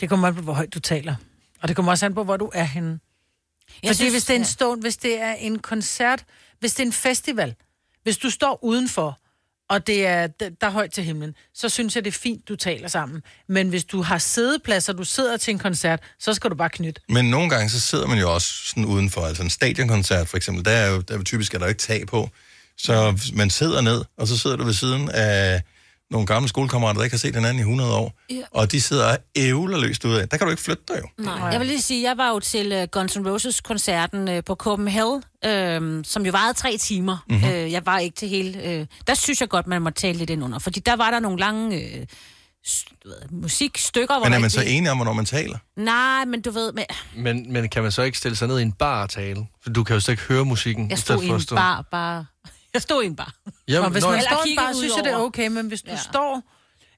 S2: Det kommer an på, hvor højt du taler. Og det kommer også an på, hvor du er henne. Jeg Fordi synes, hvis det er en stående, hvis det er en koncert, hvis det er en festival, hvis du står udenfor, og det er, d- der er højt til himlen, så synes jeg, det er fint, du taler sammen. Men hvis du har sædeplads, og du sidder til en koncert, så skal du bare knytte.
S1: Men nogle gange, så sidder man jo også sådan udenfor, altså en stadionkoncert for eksempel, der er jo der er jo typisk er der jo ikke tag på. Så man sidder ned, og så sidder du ved siden af nogle gamle skolekammerater, der ikke har set hinanden i 100 år,
S4: Ja.
S1: og de sidder og ævler løst ud af. Der kan du ikke flytte dig jo.
S4: Nej, jeg vil lige sige, jeg var jo til uh, Guns N' Roses-koncerten uh, på Copenhagen, uh, som jo varede tre timer.
S15: Mhm.
S4: Mm-hmm. Uh, jeg var ikke til hele... Uh, der synes jeg godt, man må tale lidt ind under, fordi der var der nogle lange uh, musikstykker, hvor
S1: Men er
S4: der
S1: man
S4: ikke
S1: så
S4: blev-
S1: enig om, hvornår man taler?
S4: Nej, men du ved... Men,
S3: Men, men kan man så ikke stille sig ned i en bar og tale? For du kan jo slet ikke høre musikken.
S4: jeg
S3: i
S4: stod
S3: stedet
S4: i
S3: for
S4: en
S3: at stå-
S4: bar, bare... Jeg stod i en bar.
S3: Jamen,
S2: og hvis
S3: nå, altså,
S2: man
S3: ja.
S2: står i en
S4: kigge
S2: bar,
S4: ud
S2: synes jeg, det er
S4: over.
S2: okay, men hvis du ja. står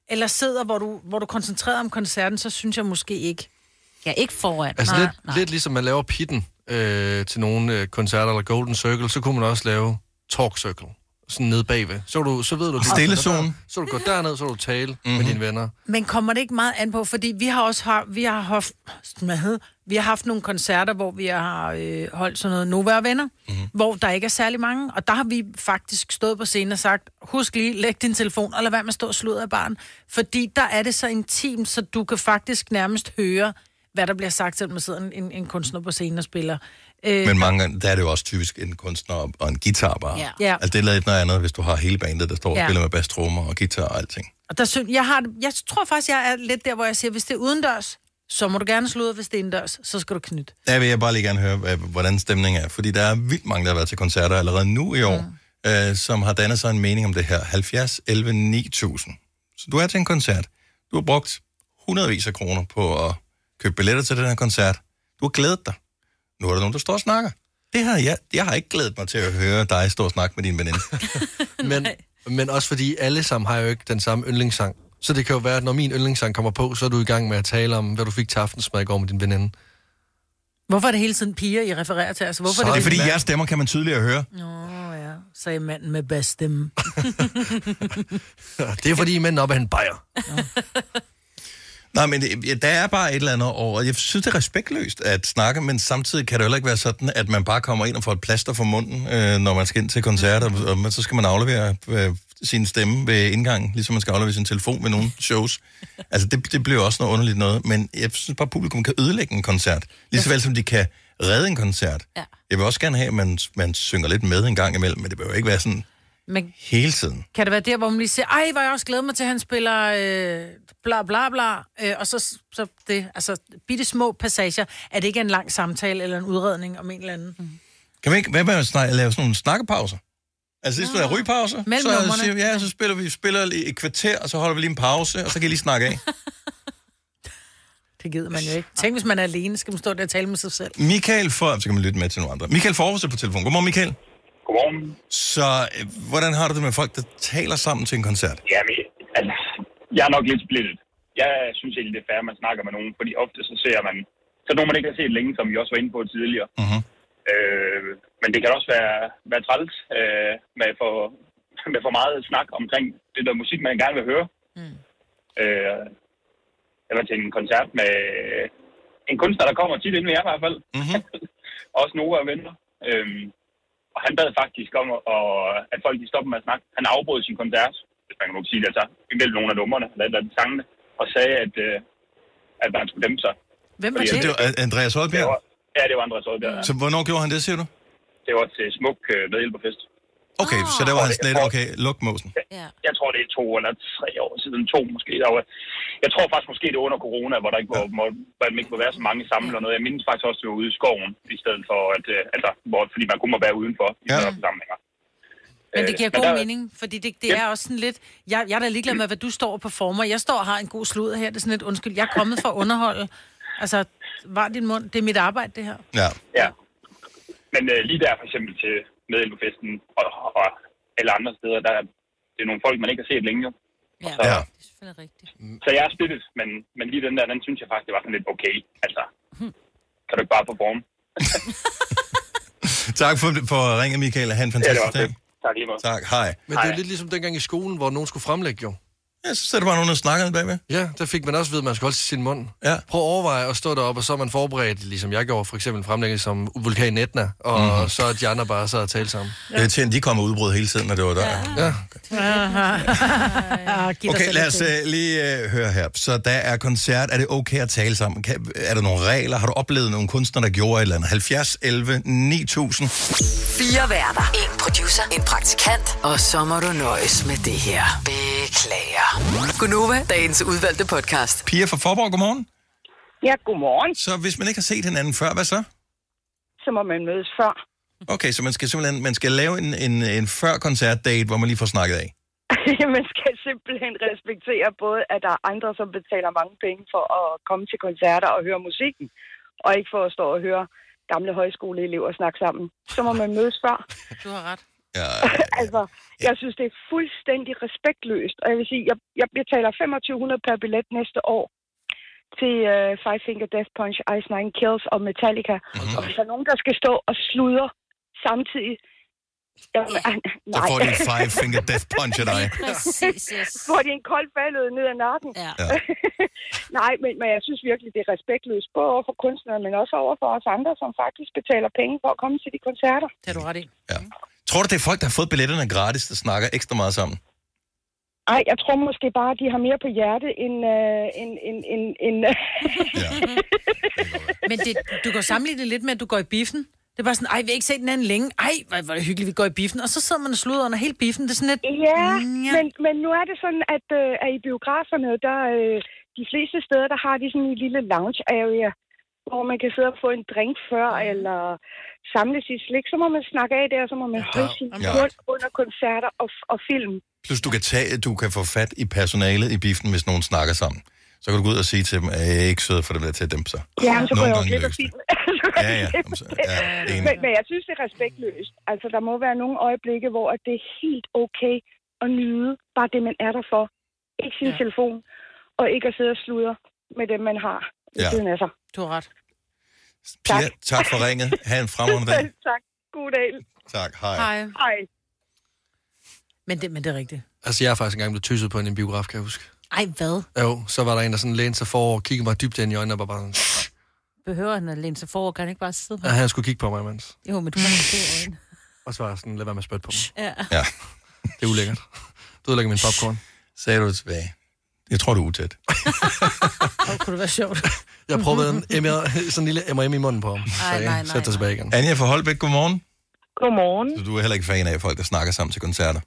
S2: eller sidder, hvor du, hvor du er koncentreret om koncerten, så synes jeg måske ikke.
S4: Ja, ikke foran.
S3: Altså lidt, lidt ligesom man laver pitten øh, til nogle øh, koncerter, eller Golden Circle, så kunne man også lave Talk Circle. Sådan nede bagved. Så, er du, så ved du... du
S1: Stille
S3: går
S1: zone.
S3: Der, så du går derned, så du tale mm-hmm.
S1: Mhm.
S3: med dine venner.
S2: Men kommer det ikke meget an på, fordi vi har også har, vi har haft, hvad hed, vi har haft nogle koncerter, hvor vi har øh, holdt sådan noget Nova og venner,
S1: Mhm.
S2: mm-hmm. hvor der ikke er særlig mange, og der har vi faktisk stået på scenen og sagt, husk lige, læg din telefon, og lad være med at stå og sludre af barn, fordi der er det så intimt, så du kan faktisk nærmest høre, hvad der bliver sagt, selvom man sidder en, en, en kunstner på scenen og spiller. Øh,
S1: Men mange gange, der er det jo også typisk en kunstner og- og en guitar bare.
S2: Ja. Ja.
S1: Altså, det er lidt noget andet, hvis du har hele bandet, der står og
S2: Ja.
S1: spiller med bass, trommer og guitar og alting.
S2: Og der synes, jeg, har, det- jeg tror faktisk, jeg er lidt der, hvor jeg siger, hvis det er udendørs, så må du gerne sludre, hvis det er indendørs, så skal du knytte.
S1: Der vil jeg bare lige gerne høre, hvad- hvordan stemningen er. Fordi der er vildt mange, der har været til koncerter allerede nu i år, ja. øh, som har dannet sig en mening om det her. 70, 11, 9000. Så du er til en koncert. Du har brugt hundredvis af kroner på at købe billetter til den her koncert. Du har glædet dig. Nu er der nogen, der står og snakker. Det har jeg. Jeg har ikke glædet mig til at høre dig stå og snakke med din veninde.
S3: Men, men også fordi alle sammen har jo ikke den samme yndlingssang. Så det kan jo være, at når min yndlingssang kommer på, så er du i gang med at tale om, hvad du fik til aftensmad i går med din veninde.
S2: Hvorfor er det hele tiden piger, I refererer til? Altså, hvorfor
S1: det er
S2: det
S1: fordi, jeres stemmer kan man tydeligere høre.
S2: Nå ja, sagde manden med bedst stemme.
S3: Det er fordi, mænd op er en bajer.
S1: Nej, men det- ja, der er bare et eller andet over. Jeg synes, det er respektløst at snakke, men samtidig kan det heller ikke være sådan, at man bare kommer ind og får et plaster for munden, øh, når man skal ind til koncerter, og man, så skal man aflevere øh, sin stemme ved indgangen, ligesom man skal aflevere sin telefon ved nogle shows. Altså, det, det bliver også noget underligt noget, men jeg synes bare, at publikum kan ødelægge en koncert. Lige så vel som de kan redde en koncert.
S4: Ja.
S1: Jeg vil også gerne have, at man, man synger lidt med en gang imellem, men det behøver ikke være sådan
S2: Men
S1: hele tiden.
S2: kan det være der, hvor man lige siger, ej, hvor jeg også glæder mig til, at han spiller øh, bla bla bla, øh, og så, så det, altså bitte små passager, at det ikke er en lang samtale eller en udredning om en eller anden. Mm.
S1: Kan man ikke, hvad med at snak, lave sådan nogle snakkepauser? Altså, det skulle være rygepauser.
S2: Mellem
S1: så,
S2: numrene.
S1: siger, vi, ja, så spiller vi spiller lige et kvarter, og så holder vi lige en pause, og så kan I lige snakke af.
S2: Det gider man jo ikke. Tænk, hvis man er alene, skal man stå der og tale med sig selv.
S1: Michael for... Så kan man lytte med til nogle andre. Michael Forhus er på telefon. Godmorgen, Michael. Godmorgen. Så øh, hvordan har du det med folk, der taler sammen til en koncert?
S15: Jamen, altså, jeg er nok lidt splittet. Jeg synes egentlig, det er fair, at man snakker med nogen, fordi ofte så ser man, så nogen man ikke har set længe, som vi også var inde på tidligere.
S1: Mhm.
S15: Øh, men det kan også være, være træls øh, med, for, med for meget snak omkring det der musik, man gerne vil høre. Mm. Øh, eller til en koncert med øh, en kunstner, der kommer tit ind ved jer i hvert fald.
S1: Mm-hmm.
S15: også Nova og venner. Øhm, og han bad faktisk om, at- og, at folk de stopper med at snakke. Han afbrød sin koncert, hvis man kan nok sige det, altså, imellem nogle af numrene, eller, et eller andet sangene, og sagde, at, øh, at man skulle dæmpe sig.
S2: Hvem
S1: Så Altså, det var øh, Andreas Holbjerg.
S15: Ja, det var Andreas Rødberg.
S1: Så hvornår gjorde han det, siger du?
S15: Det var til smuk øh, medhjælperfest.
S1: Okay,
S2: Ah.
S1: så det var hans net. Okay, luk måsen.
S4: Ja.
S15: Jeg tror, det er to eller tre år siden. To måske. Der var, jeg tror faktisk måske, det er under corona, hvor der ikke må, må, hvor man ikke må være så mange samlet og noget. Jeg mindes faktisk også, det var ude i skoven, i stedet for, at, øh, altså, hvor, fordi man kunne må være udenfor i ja. samlinger.
S2: Men det
S15: Øh,
S2: giver god
S15: der-
S2: mening, fordi det, det
S15: Ja.
S2: er også sådan lidt... Jeg, jeg er da ligeglad med, hvad du står og performer. Jeg står og har en god slud her. Det er sådan lidt, undskyld, jeg er kommet for at underholde. Altså, var din mund. Det er mit arbejde, det her.
S1: Ja.
S15: ja. Men øh, lige der for eksempel til medhjælperfesten og, og alle andre steder, der er, det er nogle folk, man ikke har set længe. Jo.
S4: Ja,
S15: så,
S1: ja.
S15: Så jeg er splittet, men, men lige den der, den synes jeg faktisk, det var sådan lidt okay. Altså, kan du ikke bare performe?
S1: Tak for, for ringet, Michael. Ha' en fantastisk dag.
S15: Tak lige meget.
S1: Tak, hej.
S3: Men det er jo lidt ligesom dengang i skolen, hvor nogen skulle fremlægge jo.
S1: Ja, så sætter bare nogen og snakker lidt bagved.
S3: Ja, der fik man også ved, at man skulle holde sin mund.
S1: Ja.
S3: Prøv at overveje at stå deroppe, og så er man forberedt, ligesom jeg gjorde, for eksempel fremlægget som vulkan Etna, og
S1: Mhm.
S3: mm. så er de andre bare så og tale sammen.
S1: Det er til, at de kommer udbrud hele tiden, når det var der. Ja. ja.
S2: Aha. Giv dig
S1: Okay,
S2: selv
S1: lad
S2: en
S1: os
S2: ting.
S1: uh, lige uh, høre her. Så der er koncert. Er det okay at tale sammen? Kan, er der nogle regler? Har du oplevet nogle kunstnere, der gjorde et eller andet? 70, 11, 9000.
S5: Fire værter. En producer. En praktikant. Og så må du nøjes med det her. Beklager. Gunova, dagens udvalgte podcast.
S1: Pia fra Forborg, godmorgen.
S16: Ja, godmorgen.
S1: Så hvis man ikke har set hinanden før, hvad så?
S16: Så må man mødes før.
S1: Okay, så man skal simpelthen man skal lave en, en, en før-koncert-date, hvor man lige får snakket af.
S16: man skal simpelthen respektere både, at der er andre, som betaler mange penge for at komme til koncerter og høre musikken, og ikke for at stå og høre gamle højskoleelever snakke sammen. Så må man mødes før.
S2: Du har ret.
S16: altså, jeg synes, det er fuldstændig respektløst, og jeg vil sige, jeg, jeg betaler 2500 per billet næste år til uh, Five Finger Death Punch, Ice Nine Kills og Metallica.
S1: Mhm.
S16: Mm-hmm. Og hvis der er nogen, der skal stå og sludre samtidig, jamen, ah, nej.
S1: Så får de en five-finger death punch af dig.
S16: Præcis, yes. Får de en kold faldet ned ad nakken.
S4: Ja.
S1: Ja.
S16: Nej, men, men jeg synes virkelig, det er respektløst, både over for kunstnere, men også over for os andre, som faktisk betaler penge for at komme til de koncerter.
S2: Det har du ret i.
S1: Tror du, det er folk, der har fået billetterne gratis, der snakker ekstra meget sammen?
S16: Ej, jeg tror måske bare, at de har mere på hjerte end... Øh, end, end, end, end
S2: Men det, du kan jo sammenligne det lidt med, at du går i biffen. Det er bare sådan, ej, vi har ikke set den anden længe. Ej, hvor hvor er det hyggeligt, vi går i biffen. Og så sidder man og sluder under hele biffen. Det er sådan lidt... Mm.
S16: ja, men, men nu er det sådan, at, øh, at i biograferne, der øh, de fleste steder, der har de sådan en lille lounge area, hvor man kan sidde og få en drink før, eller samle sit slik. Så må man snakke af der, så må man fryse sin
S1: Ja.
S16: mund under koncerter og, og film.
S1: Plus du kan, tage, du kan få fat i personalet i biffen, hvis nogen snakker sammen. Så kan du gå ud og sige til dem, at jeg er ikke sød for det der til at dæmpe sig.
S16: Ja, men så går
S1: Nogle
S16: jeg jo
S1: gange
S16: glip af filmen.
S1: lykkes det.
S16: Så går
S1: Ja,
S16: jeg glip
S1: ja,
S16: af
S1: jamen, så-
S16: det.
S1: ja, enig.
S16: men, men jeg synes, det er respektløst. Altså, der må være nogle øjeblikke, hvor at det er helt okay at nyde bare det, man er der for. Ikke sin ja. telefon, og ikke at sidde og sludre med dem, man har ved
S1: Ja.
S16: ja. siden af sig.
S2: Du har ret.
S1: Pia, tak for ringet. Ha' en fremragende dag.
S16: tak. God dag.
S1: Tak, hej.
S2: Hej.
S16: Hej.
S2: Men det, men det er rigtigt.
S3: Altså, jeg er faktisk engang blevet tysset på i en biograf, kan jeg huske.
S4: Ej, hvad?
S3: Jo, så var der en, der sådan lænede sig for og kiggede mig dybt ind i øjnene og var bare sådan,
S4: Behøver han at læne sig for, kan han ikke bare sidde på?
S3: at han skulle kigge på mig imens.
S4: Jo, men du kan ikke se øjnene.
S3: Og så var jeg sådan, lad være med at spytte på mig.
S4: Ja.
S1: Ja.
S3: Det er ulækkert. Du ødelægger min popcorn.
S1: Sagde du tilbage. Jeg tror, du er utæt.
S2: Åh, kunne det være sjovt.
S3: Jeg prøvede en, M- sådan en lille M&M i munden på ham.
S2: Ej, nej, nej,
S3: Sæt dig tilbage igen.
S1: Anja fra Holbæk, godmorgen.
S17: Godmorgen.
S1: Så du er heller ikke fan af folk, der snakker sammen til koncerter.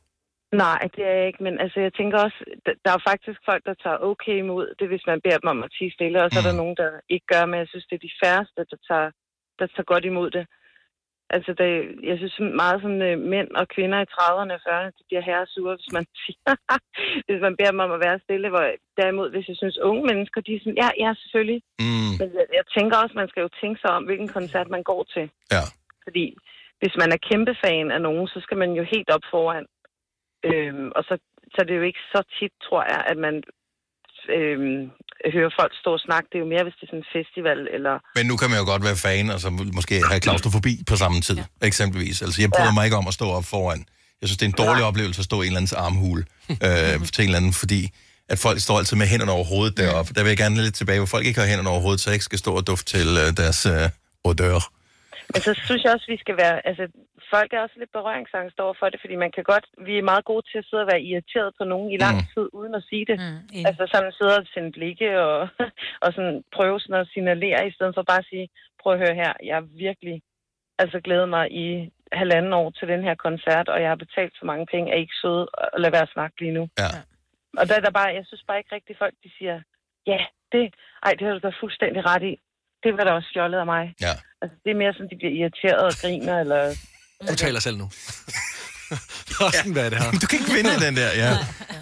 S17: Nej, det er jeg ikke, men altså, jeg tænker også, d- der er jo faktisk folk, der tager okay imod det, hvis man beder dem om at tige stille, og så er der nogen, der ikke gør, men jeg synes, det er de færreste, der tager, der tager godt imod det. Altså, det, jeg synes sådan meget sådan, øh, mænd og kvinder i 30'erne og 40'erne, de bliver herresure, hvis man, siger, hvis man beder dem om at være stille. Hvor, derimod, hvis jeg synes, unge mennesker, de er sådan, ja, ja, selvfølgelig.
S1: Mm.
S17: Men jeg, jeg tænker også, man skal jo tænke sig om, hvilken koncert man går til.
S1: Ja.
S17: Fordi hvis man er kæmpe fan af nogen, så skal man jo helt op foran. Øhm, og så, så det er jo ikke så tit, tror jeg, at man øhm, hører folk stå og snakke. Det er jo mere, hvis det er sådan en festival, eller...
S1: Men nu kan man jo godt være fan, og så måske have klaustrofobi på samme tid, ja. eksempelvis. Altså, jeg bryder ja. mig ikke om at stå op foran. Jeg synes, det er en dårlig ja. oplevelse at stå i en eller andens armhule øh, til en eller anden, fordi at folk står altid med hænderne over hovedet deroppe. Der vil jeg gerne lidt tilbage, hvor folk ikke har hænderne over hovedet, så jeg ikke skal stå og dufte til øh, deres øh, odør.
S17: Men så synes jeg også, vi skal være... Altså, folk er også lidt berøringsangst over for det, fordi man kan godt... Vi er meget gode til at sidde og være irriteret på nogen i lang
S1: Mm.
S17: tid, uden at sige det. Mm, altså sådan sidde og sende blikke og, og sådan prøve sådan at signalere, i stedet for bare at sige, prøv at høre her, jeg har virkelig altså glædet mig i halvanden år til den her koncert, og jeg har betalt så mange penge, er I ikke søde, og lad være at snakke lige nu.
S1: Ja.
S17: Og der er der bare, jeg synes bare ikke rigtigt, folk de siger, ja, det, ej, det har du da fuldstændig ret i. Det var da også fjollet af mig.
S1: Ja.
S17: Altså, det er mere sådan, de bliver irriteret og griner, eller...
S3: Du taler selv nu. Sådan, hvad er det her?
S1: Du kan ikke vinde den der, ja.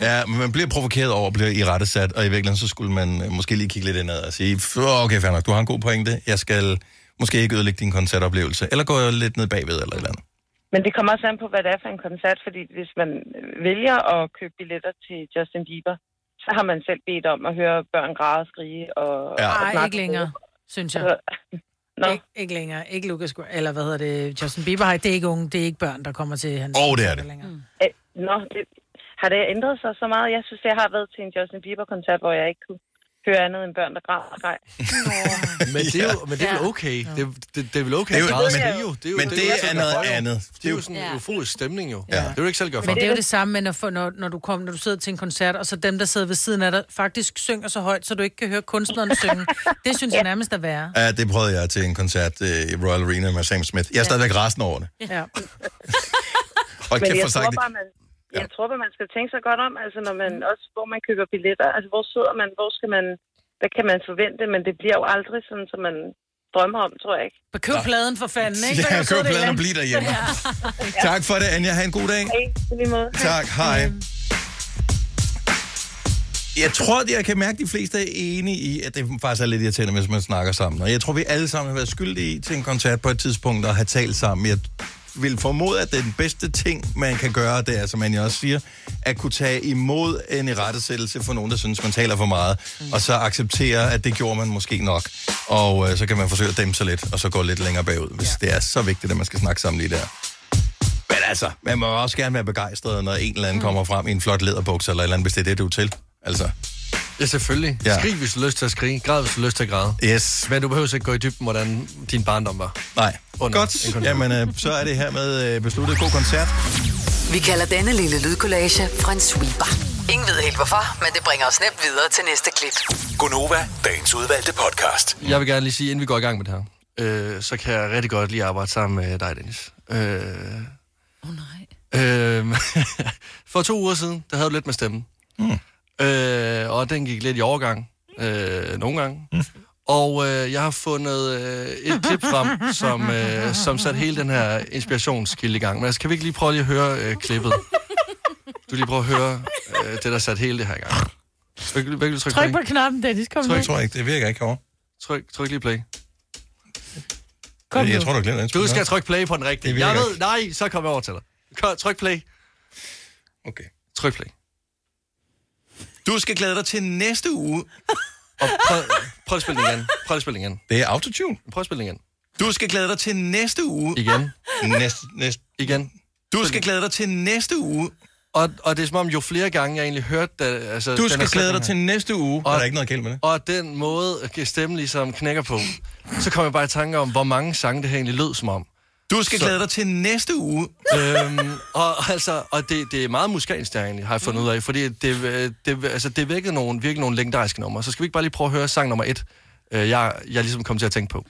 S1: Ja, men man bliver provokeret over, bliver i rette sat, og i virkeligheden så skulle man øh, måske lige kigge lidt indad og sige, "F- okay, fair nok, du har en god pointe, jeg skal måske ikke ødelægge din koncertoplevelse, eller gå lidt ned bagved eller et eller andet.
S17: Men det kommer også an på, hvad det er for en koncert, fordi hvis man vælger at købe billetter til Justin Bieber, så har man selv bedt om at høre børn græde og skrige og...
S2: Ja.
S17: og
S2: Ej,
S17: snakke
S2: ikke længere, synes jeg.
S17: Nå.
S2: Ikke, ikke længere. Ikke Lucas, Gra- eller hvad hedder det, Justin Bieber. Nej, det er ikke unge, det er ikke børn, der kommer til hans...
S1: Åh, det er det.
S2: Længere.
S17: Øh, Nå, det, har det ændret sig så meget? Jeg synes, jeg har været til en Justin Bieber-koncert, hvor jeg ikke kunne høre andet end børn, der græder og græder.
S3: Men det er jo, men det er vel okay. Det, det, det er vel okay.
S1: Det er jo-
S3: at græde.
S1: men-
S3: jo- jo-
S1: men
S3: jo
S1: det
S3: sådan,
S1: er noget
S3: der jo-
S1: andet.
S3: Det er jo sådan en
S2: Ja.
S3: euforisk stemning jo. Det vil du ikke selv gøre for.
S2: Men det er jo det samme, men at få, når, når, du kom, når du sidder til en koncert, og så dem, der sidder ved siden af dig, faktisk synger så højt, så du ikke kan høre kunstneren synge. Det synes jeg nærmest er værre.
S1: Ja, det prøvede jeg til en koncert øh, i Royal Arena med Sam Smith. Jeg er stadigvæk rasen over det.
S2: Ja.
S1: Hold
S17: Men
S1: kæft,
S17: jeg
S1: for sagt
S17: tror bare, man, jeg tror bare, man skal tænke sig godt om, altså når man også, hvor man køber billetter, altså hvor sidder man, hvor skal man, hvad kan man forvente, men det bliver jo aldrig sådan, som man drømmer om, tror jeg ikke.
S2: Køb pladen for fanden, ikke? Så
S1: Ja,
S2: kan du
S1: køb
S2: sidde
S1: pladen
S2: derhjemme.
S1: og bliv derhjemme.
S2: Ja.
S1: Tak for det, Anja. Ha' en god dag.
S17: Hej, på lige måde.
S1: Tak, Øhm. hej. Jeg tror, at jeg kan mærke, at de fleste er enige i, at det faktisk er lidt irriterende, hvis man snakker sammen. Og jeg tror, vi alle sammen har været skyldige i til en koncert på et tidspunkt og have talt sammen. Jeg vil formode, at den bedste ting, man kan gøre, det er, som man også siger, at kunne tage imod en irettesættelse for nogen, der synes, man taler for meget, og så acceptere, at det gjorde man måske nok. Og øh, så kan man forsøge at dæmpe sig lidt, og så gå lidt længere bagud, hvis ja. det er så vigtigt, at man skal snakke sammen lige der. Men altså, man må også gerne være begejstret, når en eller anden mm. kommer frem i en flot læderbuks eller et eller andet, hvis det er det, du er til. Altså,
S3: Ja, selvfølgelig.
S1: Ja.
S3: Ja. Skrig, hvis du har lyst til at skrige. Græd, hvis du har lyst til at græde.
S1: Yes.
S3: Men du behøver ikke gå i dybden, hvordan din barndom var.
S1: Nej.
S3: Under en
S1: godt.
S3: koncert.
S1: Jamen, øh, så er det her med øh, besluttet. God koncert.
S5: Vi kalder denne lille lydkollage en sweeper. Ingen ved helt hvorfor, men det bringer os nemt videre til næste klip.
S8: Gunova, dagens udvalgte podcast.
S3: Jeg vil gerne lige sige, inden vi går i gang med det her, øh, så kan jeg rigtig godt lige arbejde sammen med dig, Dennis. Øh, oh, nej. Øh, for to uger siden, der havde du lidt med stemmen. Mm. Øh, og den gik lidt i overgang. Øh, nogle gange. Mm. Og øh, jeg har fundet øh, et klip frem, som, øh, som satte hele den her inspirationskilde i gang. Men altså, kan vi ikke lige prøve lige at høre øh, klippet? Du lige prøve at høre øh, det, der satte hele det her i gang. Hvad, hvad, hvad, tryk,
S2: Tryk på knappen, Dennis. Kom nu.
S1: Tryk, tror jeg ikke. Det virker ikke herovre.
S3: Tryk, tryk lige play.
S1: Kom jeg tror, du har glemt at indspille
S3: Du skal
S1: noget.
S3: trykke play på den rigtige.
S1: Det virker
S3: Jeg ved, nej, så kommer jeg over til dig. Kom, Tryk play.
S1: Okay.
S3: Tryk play.
S1: Du skal glæde dig til næste uge.
S3: Og prøv, prøv at spille den igen. Prøv at spille den igen.
S1: Det er autotune.
S3: Prøv at spille den igen.
S1: Du skal glæde dig til næste uge.
S3: Igen.
S1: Næste, næste.
S3: Igen.
S1: Du skal glæde dig til næste uge.
S3: Og, og det er som om, jo flere gange jeg egentlig hørte det, altså, den
S1: Du
S3: her
S1: skal glæde
S3: sætning
S1: dig
S3: her.
S1: til næste uge. Og
S3: Og-
S1: der er ikke noget gæld med det.
S3: Og den måde, at stemmen ligesom knækker på, så kom jeg bare i tanke om, hvor mange sange det her egentlig lød som om.
S1: Du skal
S3: Så-
S1: glæde dig til næste uge.
S3: øhm, og altså, og det, det er meget musikalsk, der egentlig, har jeg fundet ud af, fordi det, øh, det, altså, det vækkede nogle, virkelig nogle legendariske numre. Så skal vi ikke bare lige prøve at høre sang nummer et, øh, jeg, jeg ligesom kom til at tænke på.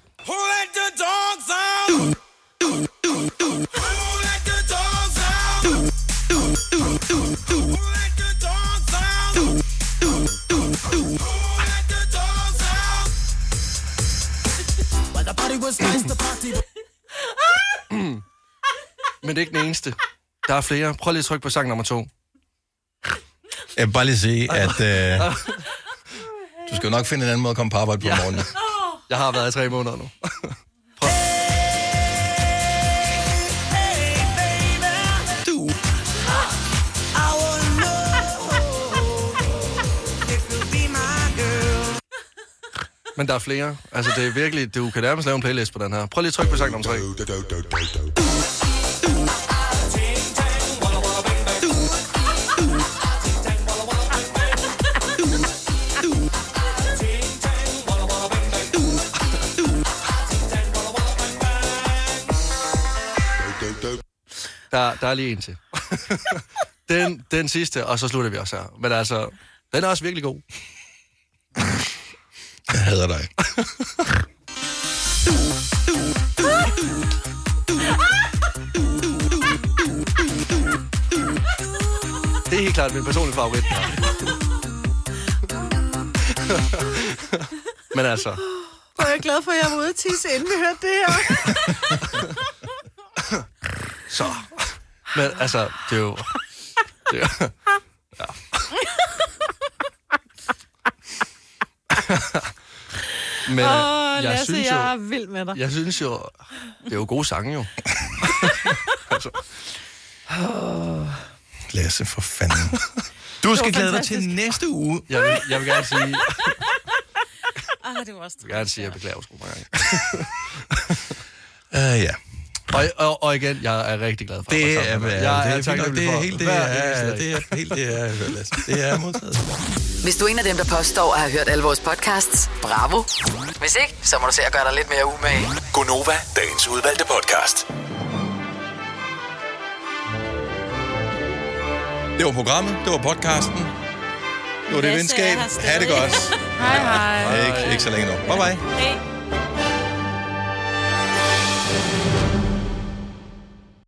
S3: Men det er ikke den eneste. Der er flere. Prøv lige at trykke på sang nummer to.
S1: Jeg vil bare lige sige, at øh, du skal jo nok finde en anden måde at komme på arbejde på ja. morgenen.
S3: Jeg har været i tre måneder nu. Men der er flere. Altså, det er virkelig... Du kan nærmest lave en playlist på den her. Prøv lige at trykke på sang nummer tre. Der, der er lige en til. den, den sidste, og så slutter vi også her. Men altså, den er også virkelig god.
S1: Jeg hader dig.
S3: Det er helt klart min personlige favorit. Men altså,
S2: Hvor er jeg glad for, at jeg var ude at tisse, inden vi hørte det her.
S3: så... Men altså, det er jo... Det er, jo- Men øh,
S2: Åh,
S3: jeg
S2: Lasse,
S3: synes jo...
S2: jeg er vild med dig.
S3: Jeg synes jo... Det er jo gode sange, jo. Altså.
S1: Lasse, for fanden. Du skal glæde dig til næste uge.
S3: Jeg vil, jeg vil gerne sige...
S2: Ah, det var også
S3: Jeg vil gerne sige, at jeg beklager sgu mange gange.
S1: Uh, ja.
S3: Og, og, og igen, jeg er rigtig glad for at
S1: Det
S3: være
S1: er,
S3: sammen
S1: er,
S3: med dig.
S1: det
S3: Jeg
S1: er, fint nok.
S3: taknemmelig
S1: det
S3: for
S1: er helt det,
S3: hver
S1: er,
S3: eneste dag.
S1: det er helt det, er, jeg hører, Lasse. Det er modtaget.
S5: Hvis du er en af dem, der påstår at have hørt alle vores podcasts, bravo. Hvis ikke, så må du se at gøre dig lidt mere umage.
S8: Gonova, dagens udvalgte podcast.
S1: Det var programmet, det var podcasten. Det var det venskab. Ha' det godt.
S2: Hej, hej.
S1: Ikke, ikke så længe nu. Bye bye.
S2: Hey.